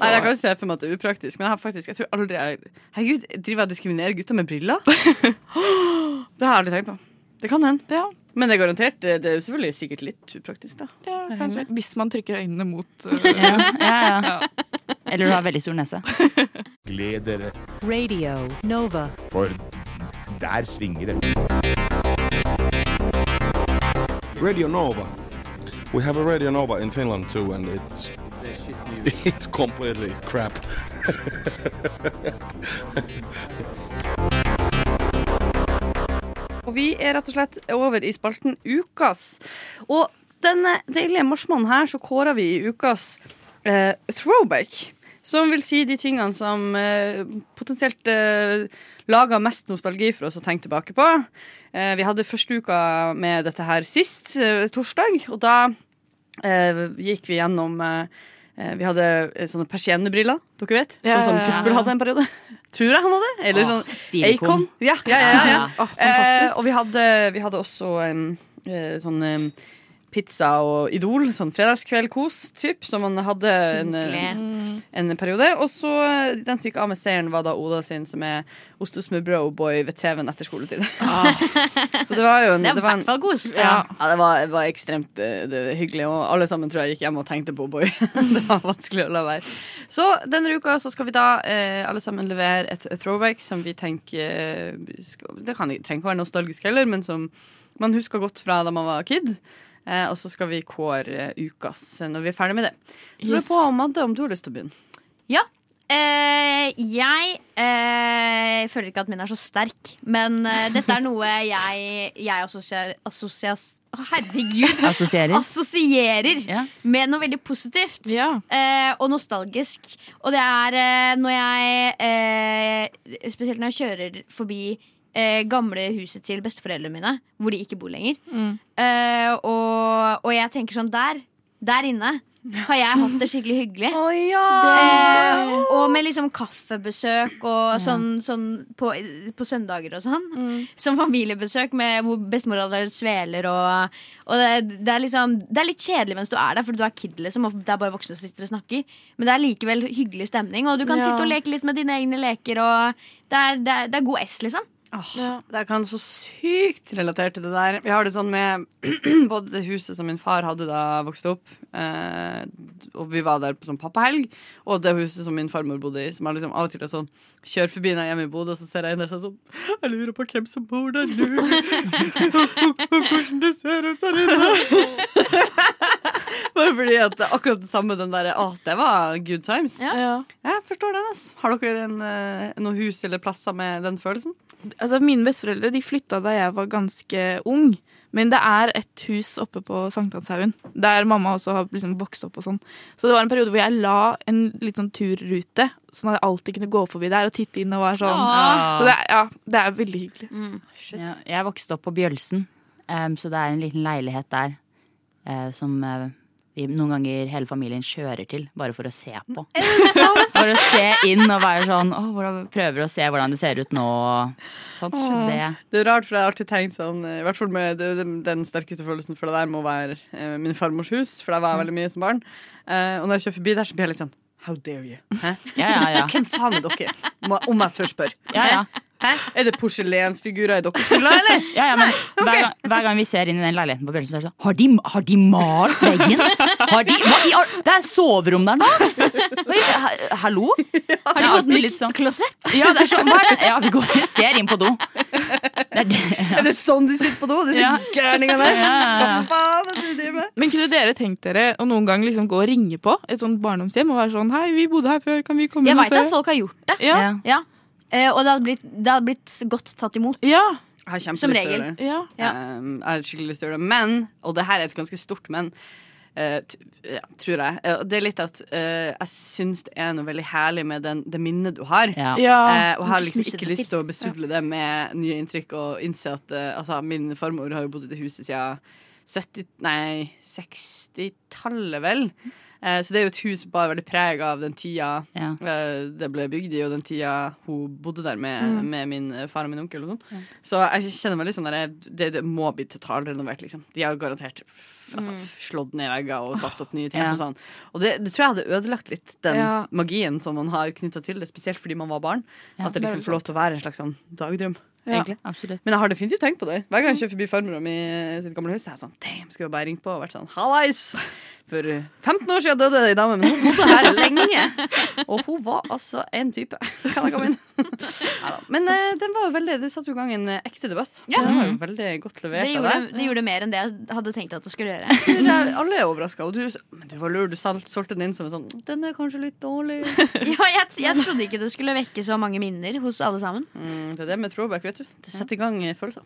C: Nei, Jeg kan jo se for meg at det er upraktisk, men jeg har faktisk Jeg tror aldri jeg Herregud, driver jeg og diskriminerer gutter med briller? Det har jeg aldri tenkt på. Det kan hende.
G: Ja,
C: Men det er garantert Det er jo selvfølgelig sikkert litt upraktisk, da.
G: ja, kanskje. Hvis man trykker øynene mot uh,
D: Ja, ja, ja. Eller du har veldig stor nese.
I: Gled dere,
J: Radio Nova.
I: for der svinger det.
K: Radio Nova. We have a Radio Nova in Finland too, and it's it's completely crap.
C: Og vi er rett og slett over i spalten Ukas. Og denne deilige marsmannen her, så kårer vi i ukas eh, throwback. Som vil si de tingene som eh, potensielt eh, lager mest nostalgi for oss å tenke tilbake på. Eh, vi hadde første uka med dette her sist, eh, torsdag, og da eh, gikk vi gjennom eh, eh, vi hadde eh, sånne persiennebriller, dere vet.
G: Ja,
C: Sånn som
G: ja, ja.
C: Pitbull hadde en periode. Tror jeg han hadde. Eller
D: Åh,
C: sånn
D: stilikon.
C: Acon. Ja, ja, ja, ja.
D: Ja.
G: Åh,
C: Eh,
G: fantastisk.
C: og vi hadde, vi hadde også en eh, sånn em, pizza og Idol, sånn fredagskveldkos, typ, som man hadde en,
E: Mm.
C: eh, en periode. Og så eh, den som gikk av med seieren, var da Oda sin, som er ostesmørbrød og boy ved TV-en etter skoletid. så det var jo en,
E: Det er i
C: det var en
E: hvert fall kos.
G: Ja.
C: ja, det var, det var ekstremt eh, det var hyggelig, og alle sammen tror jeg gikk hjem og tenkte på Boy. det var vanskelig å la være. Så denne uka så skal vi da eh, alle sammen levere et throwback som vi tenker eh, skal, Det kan, trenger ikke være nostalgisk heller, men som man husker godt fra da man var kid. Eh, og så skal vi kåre eh, ukas når vi er ferdig med det. Så lurer jeg på, Madde, om du har lyst til å begynne?
E: Ja. Eh, jeg eh, føler ikke at min er så sterk, men eh, dette er noe jeg, jeg assosier, assosias, Å, herregud,
C: Ah.
D: Assosierer.
E: assosierer
D: Ja.
E: med noe veldig positivt.
G: Ja.
E: eh, og nostalgisk. Og det er eh, når jeg eh, Spesielt når jeg kjører forbi eh, gamle huset til besteforeldrene mine, hvor de ikke bor lenger.
G: Mm.
E: Eh, og, og jeg tenker sånn Der, der inne har jeg hatt det skikkelig hyggelig.
C: Å ja!
E: Eh, og med liksom kaffebesøk og sånn, sånn på, på søndager og sånn. Som familiebesøk med hvor bestemor hadde sveler og, og det, det er liksom Det er litt kjedelig mens du er der, for du er kid, liksom, og det er bare voksne som sitter og snakker. Men det er likevel hyggelig stemning, og du kan
G: Ja.
E: sitte og leke litt med dine egne leker, og det er, det er, det er god S, liksom.
C: Åh,
G: Ja.
C: Det kan så sykt relatert til det der. Jeg har det sånn med både det huset som min far hadde da jeg vokste opp, eh, og vi var der på sånn pappahelg, og det huset som min farmor bodde i, som er liksom av og til er sånn Kjør forbi når jeg er hjemme i Bodø, og så ser jeg inn der så er jeg sånn Jeg lurer på hvem som bor der nå, og hvordan det ser ut der inne. Bare fordi at det er akkurat det samme den derre Å, det var good times.
E: Ja.
G: Ja.
C: Jeg forstår den, ass. Har dere en, eh, noen hus eller plasser med den følelsen?
G: Altså, mine besteforeldre de flytta da jeg var ganske ung. Men det er et hus oppe på Sankthanshaugen, der mamma også har liksom vokst opp. og sånn. Så det var en periode hvor jeg la en litt sånn turrute, sånn at jeg alltid kunne gå forbi der og titte inn. og var sånn.
C: Ah.
D: Ja.
G: Så det er, ja, det er veldig hyggelig.
D: Ja, jeg vokste opp på Bjølsen, em, så det er en liten leilighet der eh, som eh, vi noen ganger hele familien kjører til bare for å se på. For å se inn og være sånn åh, hvordan, prøver å se hvordan det ser ut nå. og Sånt. Så det,
C: Det er rart, for jeg har alltid tenkt sånn I hvert fall med det, det, den sterkeste følelsen for det der må være eh, min farmors hus, for der var jeg veldig mye som barn. Eh, og når jeg kjører forbi der, så blir jeg litt sånn How dare you? Hæ?
D: Ja, ja, ja.
C: Hvem faen er dere? Må- Om jeg tør spørre.
D: Ja, ja.
C: Hæ? Er det porselensfigurer i deres skoler, eller?
D: Ja, ja, men hver, gang, hver gang vi ser inn i den leiligheten på Bjørnsen, så er det sånn Har de, har de malt veggen? Har de, hva, i, all- det er soverom der nå! Hva i- ha- Hallo? Har de fått nytt klosett? Ja, det er sånn, hva er det? ja, vi går og ser inn på do.
C: Er det sånn de sitter på do? Disse
G: Ja.
C: gærningene der?
G: Ja, ja, ja.
C: Hva faen er det du driver med?
G: Men kunne dere tenkt dere å noen gang liksom gå og ringe på et sånt barndomshjem og være sånn Hei, vi bodde her før, kan vi komme
E: Jeg
G: inn og
E: veit
G: se?
E: at folk har gjort det.
G: Ja.
E: Ja. Eh, og det hadde, blitt, det hadde blitt godt tatt imot.
C: Jeg har
E: Som
C: kjempelyst til å
E: regel.
C: gjøre det. Um, jeg har skikkelig lyst til å gjøre det. Men, og det her er et ganske stort men, eh, t ja, tror jeg. Eh, og det er litt at eh, jeg syns det er noe veldig herlig med den, det minnet du har.
D: Ja.
C: Eh,
D: Ja.
C: og jeg har
D: Du
C: liksom
D: snusser
C: ikke
D: det
C: lyst til å besudle det med nye inntrykk og innse at eh, altså, min farmor har jo bodd i det huset siden 70, nei, 60-tallet, vel. Eh, Så det er jo et hus som bare er veldig preg av den tida eh, det ble bygd i, og den tida hun bodde der med,
L: Mm.
C: med min eh, far og min onkel. og sånn. Så jeg kjenner meg litt sånn der, det, det må bli totalrenovert, liksom. De har garantert f- altså,
L: Mm.
C: f- slått ned vegger og satt opp nye ting.
L: Ja.
C: så Sånn. Og det, det tror jeg hadde ødelagt litt den
L: Ja.
C: magien som man har knytta til det, spesielt fordi man var barn.
L: Ja,
C: at det
L: det er
C: liksom
L: vel
C: får lov til å være en slags sånn dagdrøm.
L: Ja, Mm.
C: egentlig.
D: absolutt.
C: Men jeg har definitivt tenkt på det. Hver gang jeg kjører forbi farmora mi sitt gamle hus, så er jeg sånn Damn, skulle jeg bare ringt på og vært sånn Hallais! For eh, 15 år siden døde ei dame, men hun bodde her lenge. Og hun var altså en type. Kan jeg komme inn? Neida. Men eh, den var jo veldig Det satte jo i gang en eh, ekte debatt.
E: Ja.
C: Den
G: Mm.
C: var jo veldig godt levert
E: Det
C: av
E: gjorde,
C: deg.
E: det gjorde mer enn det jeg hadde tenkt at det skulle gjøre.
C: Jeg tror jeg- Alle er overraska. Og du, men du var lur. Du sal- solgte den inn som en sånn Den er kanskje litt dårlig.
E: Ja, jeg, jeg trodde ikke det skulle vekke så mange minner hos alle sammen.
C: Mm, det er det med throwback, vet du. Det setter i gang eh, følelser.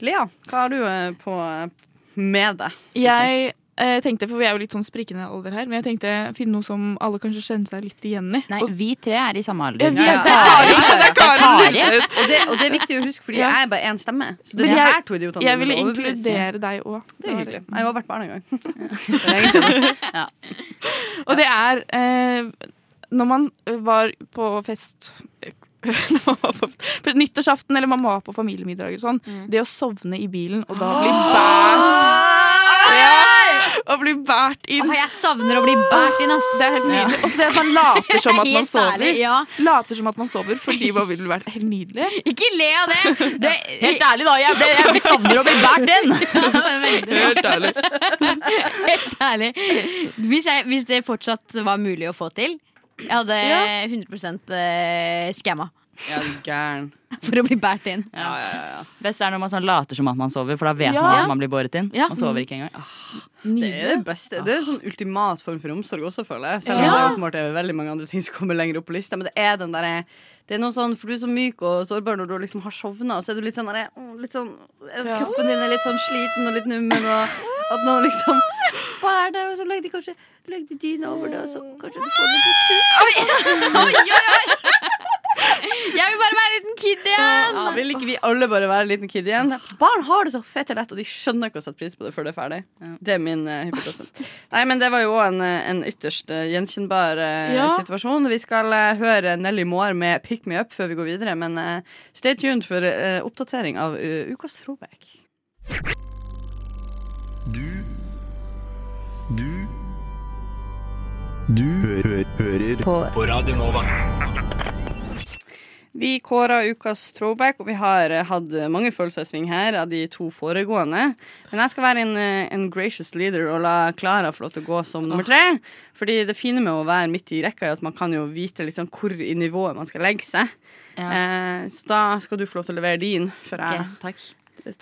C: Lea, hva har du eh, på eh, med deg?
G: Jeg eh, tenkte, for vi er jo litt sånn sprikende alder her, men jeg tenkte finne noe som alle kanskje kjenner seg litt igjen i.
D: Nei, vi tre er i samme alder.
G: Ja, vi er
D: Det er
G: Kari. Det
D: Kari.
G: er Kari som skiller
D: Det er
G: seg ut.
C: Og det, og det er viktig å huske, fordi
G: Ja.
C: jeg er bare én stemme. Så det
G: Men
C: er
G: jeg-
C: her to idiotene
G: jeg
C: du vil
G: ville
C: overbevise.
G: inkludere deg også.
C: Det er hyggelig. Jeg har vært barn en gang.
G: Og det er eh, når man eh, var på fest når man var på fest- på Nyttårsaften eller man var på familiemiddager og sånn. Det å sovne i bilen og da bli båret ja, Og bli båret inn.
E: jeg savner å bli båret inn, ass.
G: Det er helt nydelig.
E: Ja.
G: Og så det at man later som at man
E: Helt
G: sover.
E: ærlig, ja.
G: Later som at man sover fordi man ville vært helt nydelig.
E: Ikke le av det! det
D: Helt ærlig, da. Jeg, ble, jeg savner å bli båret inn.
G: Helt ærlig.
E: Helt ærlig. Hvis, jeg, hvis det fortsatt var mulig å få til, jeg hadde
C: Ja.
E: 100 eh, skamma
C: Jeg er gæren.
E: for å bli båret inn.
D: Best er når man sånn later som at man sover, for da vet
E: Ja.
D: man at man blir båret inn.
E: Ja.
D: Man sover ikke engang. Ah,
C: Det er det beste. Det er en sånn ultimat form for omsorg også, føler jeg. Selv om
D: Ja.
C: det åpenbart er veldig mange andre ting som kommer lenger opp på lista. Men det er den derre det er noe sånn, For du er så myk og sårbar når du liksom har sovna, og så er du litt sånn, derre, mm, litt sånn Kroppen din er litt sånn sliten og litt nummen, og at noen liksom Hva er det? Og så legger de kanskje legger de dyna over det, og så kanskje du får litt
E: Oi, oi, oi. Jeg vil bare være en liten kid igjen!
C: Ja, vil ikke vi alle bare være en liten kid igjen? Barn har det så fett og lett, og de skjønner ikke å sette pris på det før det er ferdig. Det er min eh, hypotese. Nei, men det var jo også en, eh, en ytterst eh, gjenkjennbar eh,
L: Ja.
C: situasjon. Vi skal eh, høre Nelly Moore med 'Pick Me Up' før vi går videre, men eh, stay tuned for eh, oppdatering av eh, ukas Frobek.
F: Du Du Du hø hø hører på, på Radio Nova.
C: Vi kåra ukas throwback, og vi har eh, hatt mange følelser i sving her av de to foregående. Men jeg skal være en, eh, en gracious leader og la Klara få lov til å gå som nummer tre. Fordi det fine med å være midt i rekka er at man kan jo vite litt sånn hvor i nivået man skal legge seg.
D: Ja.
C: Eh, så da skal du få lov til å levere din før jeg
D: ok, takk.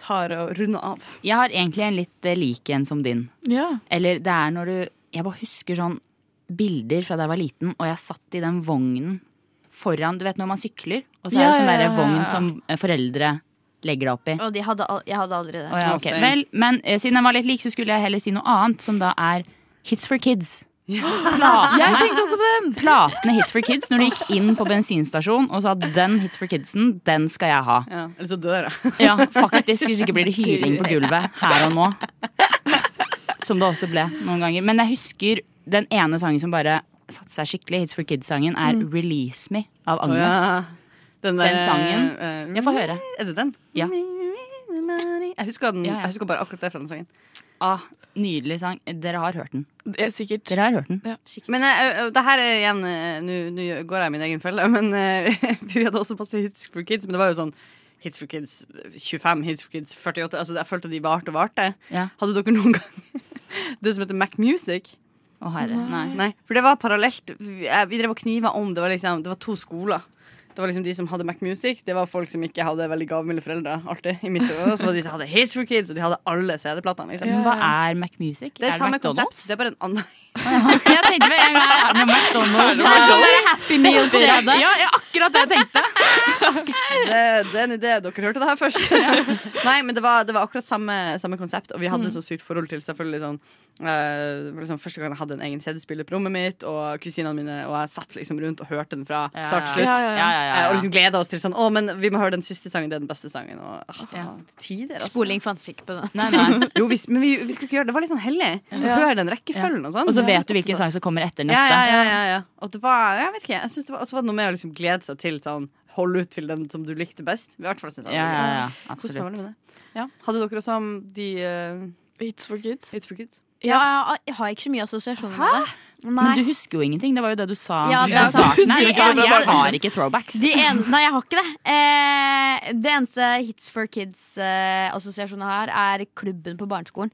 C: tar og runder av.
D: Jeg har egentlig en litt eh, lik en som din. Eller det er når du Jeg bare husker sånn bilder fra da jeg var liten, og jeg satt i den vognen foran Du vet når man sykler, og så er
E: Ja,
D: det sånn
E: ja,
D: derre
E: ja, ja,
D: vogn
E: ja.
D: som eh, foreldre legger deg opp i.
E: Og de hadde, al- jeg hadde aldri det.
D: Å ja, ok. Vel, men eh, siden jeg var litt lik, så skulle jeg heller si noe annet, som da er Hits for kids.
G: Jeg
D: Platene,
G: tenkte også på den!
D: platene Hits for kids når du gikk inn på bensinstasjonen og sa den Hits for kidsen, den skal jeg ha.
C: Ja, eller så dør jeg.
D: Ja, faktisk. Hvis ikke blir det hyling på gulvet her og nå. Som det også ble noen ganger. Men jeg husker den ene sangen som bare satte seg skikkelig, Hits for Kids-sangen, er
C: Mm.
D: 'Release Me' av
C: Å
D: Agnes.
C: ja. Den, der,
D: sangen.
C: eh,
D: Jeg får høre.
C: Er det den?
D: Ja.
C: Jeg husker, den,
D: Ja, ja.
C: jeg husker bare akkurat det fra den sangen.
D: Ah, nydelig sang. Dere har hørt den.
G: Sikkert.
D: Dere har hørt den.
C: Men eh, det her er igjen eh, Nå nå går jeg i min egen felle, men eh, vi hadde også masse hits for kids. Men det var jo sånn hits for kids 25, hits for kids 48. Altså, jeg følte de varte og varte.
D: Ja.
C: Hadde dere noen gang det som heter Mac Music?
D: Å, herre. Nei.
C: For det var parallelt. Vi eh, vi drev og kniva om. Det var, liksom, det var to skoler. Det var liksom De som hadde Mac Music, det var folk som ikke hadde veldig gavmilde foreldre. alltid i mitt hode. Og så var det de som hadde Hits for Kids, og de hadde alle CD-platene. Liksom.
D: Men hva er Mac Music?
C: Det er, samme
D: McDonald's?
C: konsept. Det er bare en annen
D: Jeg tenkte med en gang er det noe McDonald's. sånn-
C: Er det
E: sånn
C: noe McDonald's? Happy Meal CD?
D: Ja, ja, akkurat det jeg tenkte.
C: det, det er en idé. Dere hørte det her først. Nei, men det var, det var akkurat samme, samme konsept, og vi hadde
M: Mm.
C: så sykt forhold til selvfølgelig sånn eh, det var liksom Første gang jeg hadde en egen CD-spiller på rommet mitt, og kusinene mine og jeg satt liksom rundt og hørte den fra
D: Ja,
C: start
D: ja.
C: til slutt.
D: Ja, ja, ja. Ja, ja, ja.
C: Eh, Og liksom gleda oss til sånn Å, men vi må høre den siste sangen, det er den beste sangen. Og, ah, tider, altså.
N: Spoling fantes ikke på den.
C: Jo, vi, men vi, vi skulle ikke gjøre det. Det var litt sånn hellig.
D: Ja.
C: Hør den rekkefølgen og sånn.
D: Og så vet du hvilken sang som kommer etter neste.
C: Ja, ja, ja, ja, ja. Og det var, jeg vet ikke, jeg synes det var, og så var det noe med å liksom glede seg til sånn, holde ut til den som du likte best. I hvert fall synes jeg. det var
D: Ja, ja, ja.
C: gøy.
D: Absolutt.
C: Hvordan var det med det? Ja. Hadde dere også um, de Hits for kids? Hits for kids.
E: Ja, jeg, jeg har ikke så mye assosiasjoner med det.
D: Men du husker jo ingenting. Det var jo det du sa.
E: Ja,
D: Du
E: det er
D: sa-
E: sant.
D: Nei,
E: De
D: jeg, jeg,
E: eneste-
D: har ikke throwbacks.
E: De en, nei, jeg har ikke det. Eh, det eneste Hits for Kids-assosiasjonen jeg har, er klubben på barneskolen.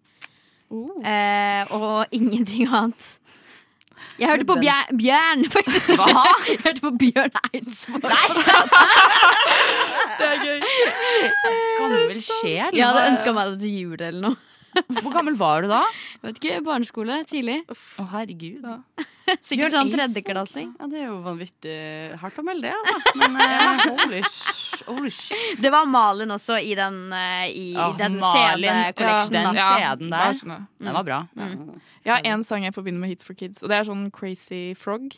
E: Eh, og ingenting annet. Jeg hørte på
N: Klubben.
E: Bjørn, bjørn faktisk.
N: Hva?
E: Jeg hørte på Bjørn Eidsvåg. det er gøy.
D: Gammel sjel.
E: Jeg hadde ønska meg det til jul eller noe.
D: Hvor gammel var du da?
E: Vet ikke, Barneskole tidlig.
D: Å, herregud.
E: Sikkert sånn tredjeklassing.
C: Ja, det er jo vanvittig hardt å melde det, altså. Men eh, holy, sh holy shit.
E: Det var Malin også i den, eh, i
G: Åh,
E: den altså.
G: Malin. Ja, den
E: CD-collectionen. da.
G: CD-en der. Bare sånn, ja. Den var bra.
E: Mm.
G: Jeg har én sang jeg forbinder med Hits for Kids, og det er sånn Crazy Frog.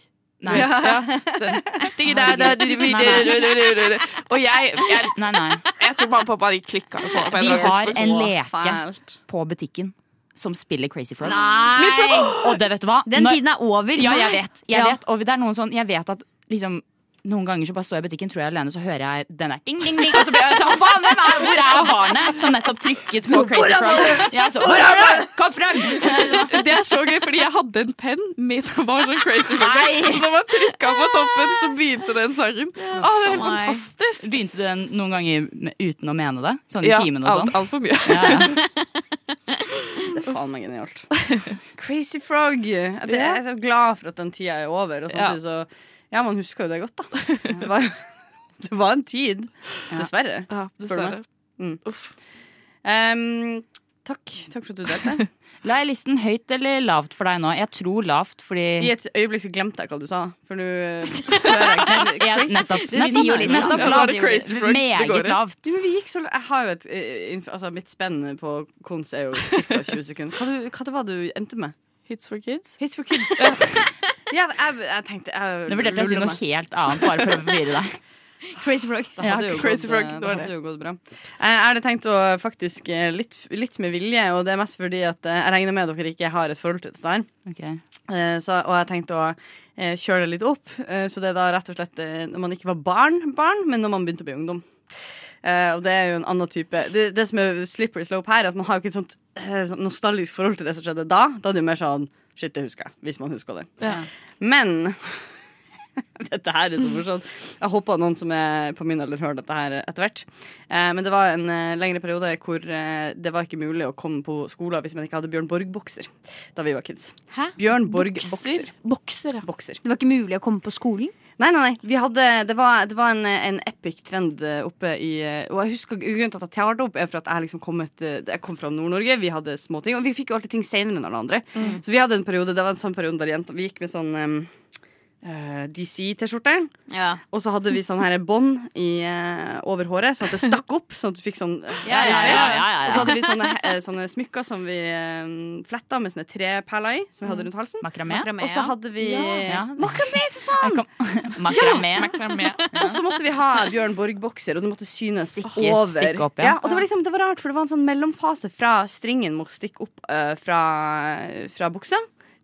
D: Nei.
G: Ja. Den. Digger der, der, der,
D: Nei, nei.
G: der, der, der, der, der. Og jeg, jeg,
D: Nei, nei.
G: jeg tror mamma og pappa de klikka på. på
D: Vi
G: eller annen
D: har
G: tidspunkt.
D: en leke på butikken som spiller Crazy Frog.
E: Nei! Men for-
D: Og det vet du hva?
E: Den tiden er over.
D: Ja, jeg vet. Jeg
E: Ja.
D: vet, og det er noen sånn, jeg vet at liksom noen ganger så bare står jeg i butikken, tror jeg er alene, så hører jeg den der ding, ding, ding. Og så blir jeg sånn, faen, hvem er, hvor er barnet som nettopp trykket på Crazy
G: er
D: Frog?
G: du?
D: Ja, så,
G: Hvor er
D: du? Kom frem!
G: Det er så gøy, fordi jeg hadde en penn med som var sånn crazy
D: Nei.
G: burger. Så når man trykka på toppen, så begynte den sangen. Å, det er helt
D: Nei.
G: fantastisk.
D: Begynte du den noen ganger med- uten å mene det? Sånn i
G: Ja,
D: timen og
G: alt-
D: sånn?
G: alt for mye.
D: Ja, ja.
C: Det er faen meg genialt. Crazy Frog. At Jeg
M: Ja.
C: er så glad for at den tida er over. Og samtidig så Ja, man husker jo det godt, da. Det var, det var en tid. Dessverre.
G: Ja,
C: spør du meg.
G: dessverre.
C: Mm. Em, takk. Takk for at du delte.
D: La jeg listen høyt eller lavt for deg nå? Jeg tror lavt, fordi
C: I et øyeblikk så glemte jeg hva du sa, for nå eh,
D: Ja, nettopp. Nettopp- nettopp Ja, lavt. det er Crazy Frog. Meget Det går, ja. lavt.
C: Jo, men vi gikk så l- Jeg har jo et eh, inf- Altså, mitt spenn på kons er jo ca. 20 sekunder. Hva, du, hva det var du endte med?
G: Hits for kids.
C: Hits for kids. ja, jeg, jeg tenkte jeg,
D: Nå vurderte jeg å si
C: luller
D: noe
C: meg.
D: helt annet, bare for å forvirre deg.
E: Crazy Frog.
C: Det hadde jo
G: Crazy
C: gått,
G: Frog,
C: eh,
G: det
C: det
G: var
C: hadde
G: det.
C: jo gått bra. Eh, Jeg hadde tenkt å faktisk eh, litt, litt med vilje, og det er mest fordi at eh, jeg regner med at dere ikke har et forhold til dette her.
D: Ok.
C: Eh, Så, og jeg tenkte å eh, kjøre det litt opp. Eh, Så det er da rett og slett eh, når man ikke var barn, barn men når man begynte å bli ungdom. Eh, og det er jo en annen type Det, det som er slippery slope her, er at man har jo ikke et sånt, eh, sånt nostalgisk forhold til det som skjedde da. Da er det jo mer sånn Shit, det husker jeg. Hvis man husker det.
G: Ja.
C: Men dette her er så morsomt. Jeg håper noen som er på min alder, hører dette her etter hvert. Eh, men det var en eh, lengre periode hvor eh, det var ikke mulig å komme på skolen hvis man ikke hadde Bjørn Borg-bokser da vi var kids.
E: Hæ?
C: Bjørn Borg-bokser.
E: Bokser, ja.
C: Bokser.
E: Det var ikke mulig å komme på skolen?
C: Nei, nei, nei. Vi hadde, det var, det var en, en epic trend eh, oppe i eh, Og jeg husker grunnen til at jeg tar det opp, er for at jeg har liksom kommet eh, Jeg kom fra Nord-Norge, vi hadde små ting. Og vi fikk jo alltid ting senere enn alle andre.
M: Mm.
C: Så vi hadde en periode, det var en sånn periode der jenta, vi gikk med sånn eh, eh, DC-T-skjorte. Og så hadde vi sånn her bånd i, eh, over håret, sånn at det stakk opp. Sånn at du fikk sånn eh,
M: Ja, ja, ja, ja, ja, ja.
C: Og så hadde vi sånne, eh, sånne smykker som vi eh, fletta med sånne treperler i, som vi
M: Mm.
C: hadde rundt halsen.
D: Makramé. Makramé,
C: Og så
D: ja.
C: hadde vi
D: Ja.
C: Makramé, for faen!
D: Makramé.
C: Og så måtte vi ha Bjørn Borg-bokser, og det måtte synes
D: Stikke-
C: over.
D: stikke opp, ja.
C: og det var, liksom, det var rart, for det var en sånn mellomfase fra stringen må stikke opp eh, fra, fra buksa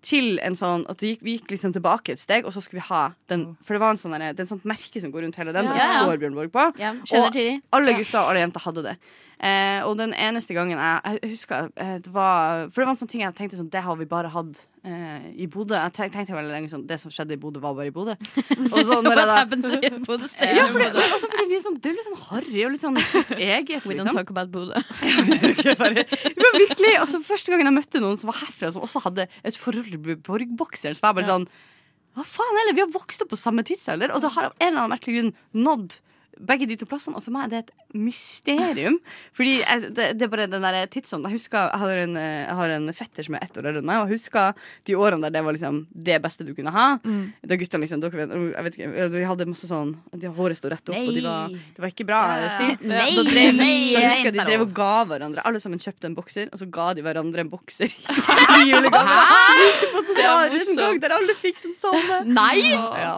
C: til en sånn at det gikk, Vi gikk liksom tilbake et steg, og så skulle vi ha den. For det var en sånn der, det er en sånt merke som går rundt hele den.
E: Ja,
C: Der
E: ja.
C: står Bjørn Borg på.
E: Ja, skjønner
C: og
E: til de.
C: alle
E: Ja.
C: gutta og alle jenter hadde det. Eh, og den eneste gangen jeg, jeg husker eh, det var, For det var en sånn ting jeg tenkte sånn Det har vi bare hatt eh, i Bodø. Jeg tenk- tenkte veldig lenge sånn Det som skjedde i Bodø, var bare i Bodø. Og så når jeg
E: What
C: da
E: happens in Bodø stays
C: ja,
E: in
C: fordi,
E: Bodø.
C: men også fordi vi er sånn, det er litt sånn harry og litt sånn eget.
E: We don't talk about Bodø.
C: Men virkelig, og så Første gangen jeg møtte noen som var herfra, som også hadde et forhold til Borg-bokseren, så var jeg bare sånn Hva faen heller? Vi har vokst opp på samme tidsalder, og det har av en eller annen merkelig grunn nådd begge de to plassene. Og for meg er det et mysterium. Fordi jeg, det, det er bare den der tidsånden. Jeg husker, jeg har, en, eh, jeg har en fetter som er ett år eldre enn meg, og jeg husker de årene der det var liksom det beste du kunne ha.
M: Mm.
C: Da guttene liksom dere, vet- jeg vet ikke, De hadde masse sånn de- Håret sto rett opp, og de var,
M: Nei.
C: det var ikke bra.
M: Ja, ja, ja.
C: stil.
M: Nei,
C: da drev,
M: nei,
C: da husker jeg de
M: jenta
C: drev
M: lov.
C: og ga hverandre. Alle sammen kjøpte en bokser, og så ga de hverandre en bokser. i julegave. Det var sånn
M: Det var
C: rare en
M: morsomt.
C: gang der alle fikk den samme.
M: Nei!
C: Ja.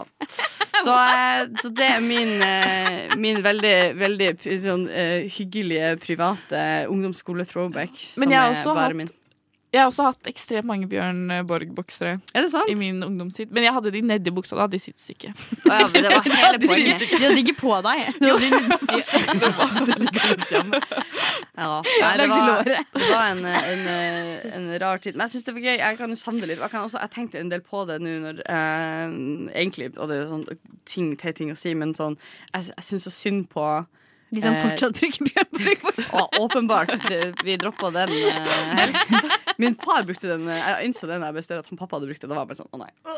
C: Så, eh, så det er min, eh, min veldig, veldig p- sånn, eh, hyggelige private ungdomsskole-throwback. Som
G: Men jeg har
C: er
G: også
C: bare
G: hatt-
C: min.
G: Jeg har også hatt ekstremt mange Bjørn Borg-boksere
C: i
G: min ungdomstid. Men jeg hadde de nedi buksa da. De syntes ikke.
E: det var hele poenget. De hadde ikke på deg. De
C: Ja,
E: Ja,
C: nei, det,
E: langs
C: var,
E: låret.
C: det var en, en, en rar tid. Men jeg syns det var gøy. Jeg kan jo savne det litt. Og Jeg, kan også, jeg tenkte en del på det nå når eh, Egentlig, og det er jo sånn ting, teit ting å si, men sånn Jeg, jeg syns så synd på
E: De som
C: eh,
E: fortsatt bruker bjørnbrugbukse.
C: Å, åpenbart. Det, vi droppa den eh, helst. Min far brukte den. eh, Jeg innså den da jeg bestemte at han pappa hadde brukt det. Da var jeg bare sånn, å nei. Å,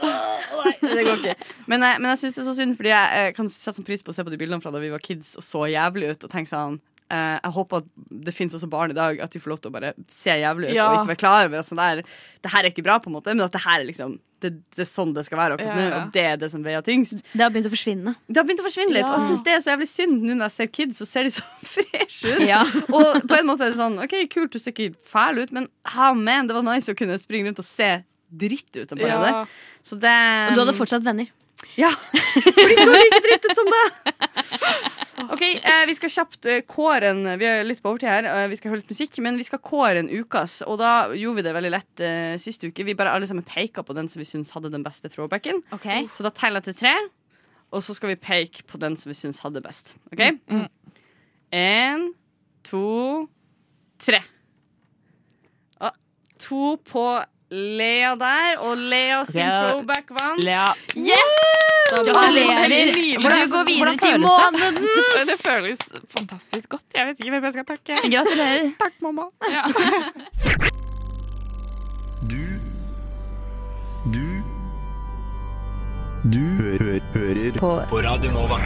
C: nei, det går ikke. Men, jeg- men jeg syns det er så synd, fordi jeg eh, kan sette sånn pris på å se på de bildene fra da vi var kids og så jævlig ut, og tenke sånn eh, jeg håper at det fins også barn i dag at de får lov til å bare se jævlig ut
M: Ja.
C: og ikke være klar over at sånn der, det her er ikke bra, på en måte, men at det her er liksom det, det er sånn det skal være akkurat
E: Ja,
C: nå,
E: ja.
C: og det er det som veier tyngst.
E: Det har begynt å forsvinne.
C: Det har begynt å forsvinne litt,
E: Ja.
C: og jeg syns det er så jævlig synd nå når jeg ser kids, så ser de så fresh ut.
E: Ja.
C: og på en måte er det sånn OK, kult, du ser ikke fæl ut, men ha man, det var nice å kunne springe rundt og se dritt ut en
E: Ja.
C: periode. Så det um,
E: Og du hadde fortsatt venner.
C: Ja. For de så like dritt ut som deg! OK, eh, vi skal kjapt eh, kåre en Vi er litt på overtid her, eh, vi skal høre litt musikk, men vi skal kåre en ukas, og da gjorde vi det veldig lett eh, sist uke. Vi bare alle sammen peka på den som vi syns hadde den beste throwbacken.
E: Ok.
C: Så da teller jeg til tre, og så skal vi peke på den som vi syns hadde best. OK? En, to, tre. Og to på Lea der, og Lea sin
D: Ok.
C: throwback vant.
D: Lea.
C: Yes!
G: Gratulerer. Hvordan- hvordan føles det? Det
C: føles
G: fantastisk godt. Jeg vet ikke hvem jeg skal takke.
D: Gratulerer.
G: Takk, mamma. Ja.
O: Du Du Du hø hø hører på. på Radio Nova.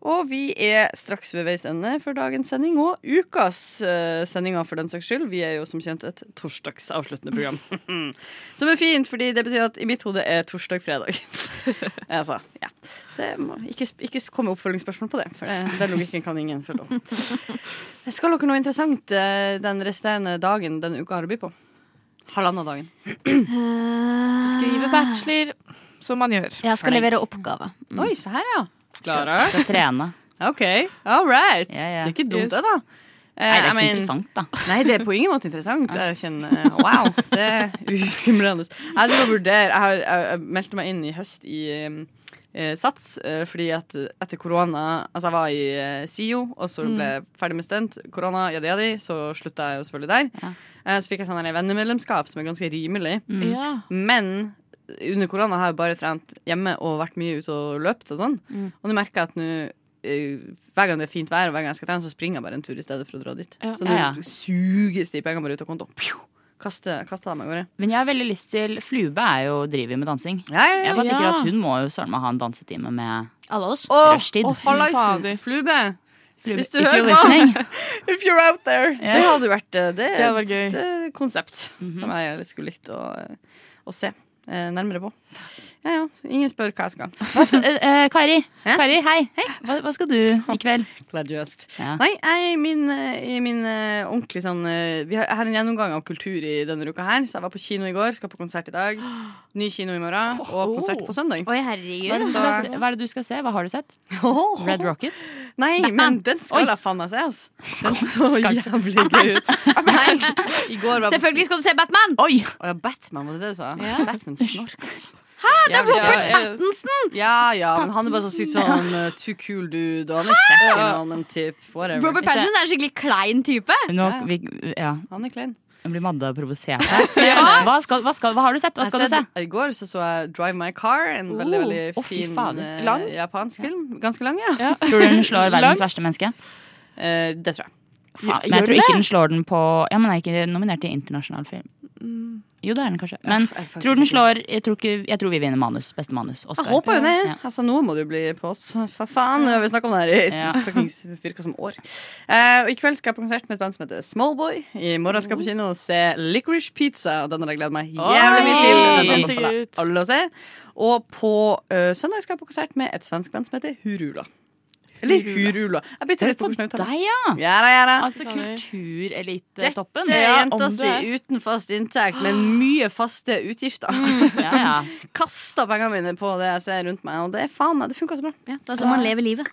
C: Og vi er straks ved veis ende for dagens sending og ukas eh, sendinger, for den saks skyld. Vi er jo som kjent et torsdagsavsluttende program. Som er fint, fordi det betyr at i mitt hode er torsdag-fredag. altså, ja. Det må ikke, sp- ikke komme oppfølgingsspørsmål på det, for det, den logikken kan ingen følge opp. Skal dere noe interessant eh, den resterende dagen denne uka har å by på? Halvannen av dagen.
G: Skrive bachelor, som man gjør.
E: Eh, Jeg skal levere oppgave.
D: Mm.
C: Oi, se her, ja.
D: Klara. Skal trene.
C: OK, all right.
D: ja.
C: Det er ikke dumt,
D: Yes.
C: det, da.
D: Nei, det er
C: Eh,
D: ikke så
C: jeg mener-
D: interessant, da.
C: Nei, det er på ingen måte interessant. Jeg kjenner eh, Wow, det er ustimulerende. Jeg driver og vurderer. Jeg, har, jeg, jeg meldte meg inn i høst i eh, Sats, eh, fordi at etter korona Altså, jeg var i eh, SIO, og så ble jeg ferdig med student. Korona, jadi jadi, så slutta jeg jo selvfølgelig der. Eh, så fikk jeg sånn her vennemedlemskap som er ganske rimelig.
G: Mm. Ja.
C: Men under korona har jeg bare trent hjemme og vært mye ute og løpt og sånn.
G: Mm.
C: Og nå merker jeg at nå eh, hver gang det er fint vær og hver gang jeg skal trene, så springer jeg bare en tur i stedet for å dra dit.
D: Ja.
C: Så nå
D: Ja, ja.
C: suges de pengene bare ut av kontoen. Pju! Kaster, kaster dem av gårde.
D: Men jeg har veldig lyst til Flube er jo, driver jo med dansing.
C: ja,
D: jeg bare tenker
C: ja.
D: at hun må jo søren meg ha en dansetime med
E: Alle oss.
C: Åh,
D: Rushtid.
C: åh, hallaisen. Flube.
D: Flube,
C: Hvis du
D: if
C: hører på.
D: you're listening.
C: If you're out there. Det
D: Yes.
C: hadde Mm. vært eh, Det,
G: Det hadde vært gøy.
D: Mhm.
C: et, eh, konsept som jeg skulle likt å, eh, å se eh, nærmere på. Ja, ja. Ingen spør hva jeg skal.
D: Hva skal eh, eh, Kari, Kari, hei. Hva, hva skal du i kveld?
C: Gladjøst. Nei, jeg, min, eh, i min eh, ordentlig sånn eh, Vi har, jeg har en gjennomgang av kultur i denne uka her. Så jeg var på kino i går, skal på konsert i dag. Ny kino i morgen, og konsert på søndag.
E: Oi, herregud.
D: Hva er, det du skal, se- hva er det du skal se? Hva har du sett? Red Rocket?
C: Nei, men den skal jeg faen meg se, altså. Den så jævlig gøy ut. I går var
E: Selvfølgelig skal du se Batman!
D: Oi!
C: Å ja, Batman, var det det du sa?
E: Ja.
C: Batman snork, altså.
E: Hæ, det er
C: Jævlig
E: Robert
C: bra.
E: Pattinson!
C: Ja, ja, men han er bare så sykt sånn eh, too cool dude, og han er kjekk,
E: Hæ?
C: men han er en typ, whatever.
E: Robert Pattinson er en skikkelig klein type.
D: Nå, vi, ja.
C: Han er klein.
D: Jeg blir madda og provosert her. Hva, skal, hva, skal, hva har du sett? Hva skal du
C: Jeg
D: se?
C: sett- I går så, så jeg Drive My Car, en veldig
D: Oh.
C: veldig
D: Å, fy
C: fin
D: fader.
C: eh,
D: Lang?
C: japansk film. Ganske lang, ja.
D: Tror du den slår verdens verste menneske?
C: Eh, det tror jeg.
D: Faen, men jeg tror ikke den slår den på Ja, men den er ikke nominert til internasjonal film. Jo, det er den kanskje. Men
C: jeg faktisk
D: tror den slår jeg tror, ikke, jeg tror vi vinner manus. Beste manus. Oscar.
C: Jeg håper jo det.
D: Ja.
C: Altså, nå må det jo bli på oss. For faen, nå har vi snakka om det her i
D: Ja.
C: fuckings virka som år. Eh, og I kveld skal jeg på konsert med et band som heter Smallboy. I morgen skal jeg på kino og se Licorice Pizza. Og den har jeg gledet meg jævlig mye til.
D: Oh. Oi!
C: Den
D: Den ser
C: anbefaler jeg alle å se. Og på eh, søndag skal jeg på konsert med et svensk band som heter Hurula. Eller Hurula. Jeg bytter litt på hvordan jeg uttaler
D: Deg, ja!
C: Ja da, ja da.
D: Altså kulturelitetoppen.
C: Dette er
D: Ja, om
C: jenta
D: du
C: si
D: er-
C: uten fast inntekt, men mye faste utgifter.
D: Ja, ja.
C: Kasta pengene mine på det jeg ser rundt meg, og det er faen meg, det funka så bra.
E: Da skal man leve livet.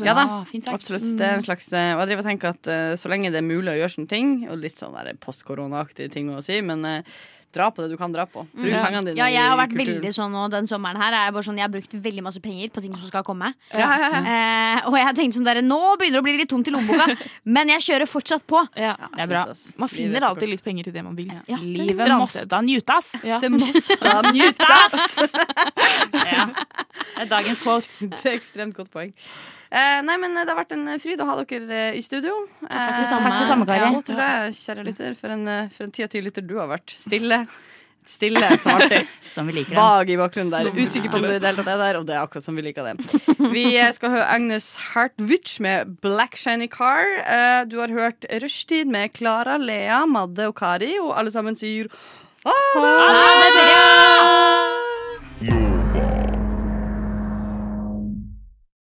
C: Ja da,
D: Ah, fint sagt.
C: absolutt. Det er en slags, eh, og jeg driver og tenker at eh, så lenge det er mulig å gjøre sånne ting, og litt sånn der postkoronaaktige ting å si, men eh, dra på det du kan dra på. Bruk
E: Ja.
C: pengene dine
E: Ja, jeg har vært
C: i kulturen.
E: veldig sånn nå den sommeren her. Er jeg, bare sånn, jeg har brukt veldig masse penger på ting som skal komme.
C: Ja, ja, ja.
E: Eh, og jeg har tenkt sånn der, nå begynner det å bli litt tomt i lommeboka, men jeg kjører fortsatt på.
G: Ja.
D: Det er bra.
G: Man finner alltid litt penger til det man vil.
E: Ja.
D: Livet måste njutas.
G: Ja.
C: Det måste njutas!
D: Det er dagens quote.
C: Det er ekstremt godt poeng. Eh, nei, men eh, Det har vært en eh, fryd å ha dere eh, i studio.
D: Takk til samme. Takk til samme, Kari.
C: Ja, og til deg, kjære lytter, for en, eh, for en ti av ti lytter du har vært. Stille. Stille som alltid.
D: Som vi liker den.
C: Vag i bakgrunnen der.
D: Som-
C: Usikker på om du i det hele tatt er der, og det er akkurat som vi liker det. Vi eh, skal høre Agnes Hartwich med 'Black Shiny Car'. Eh, Du har hørt Rushtid med Klara, Lea, Madde og Kari, og alle sammen sier ha det!
E: Ha det bra!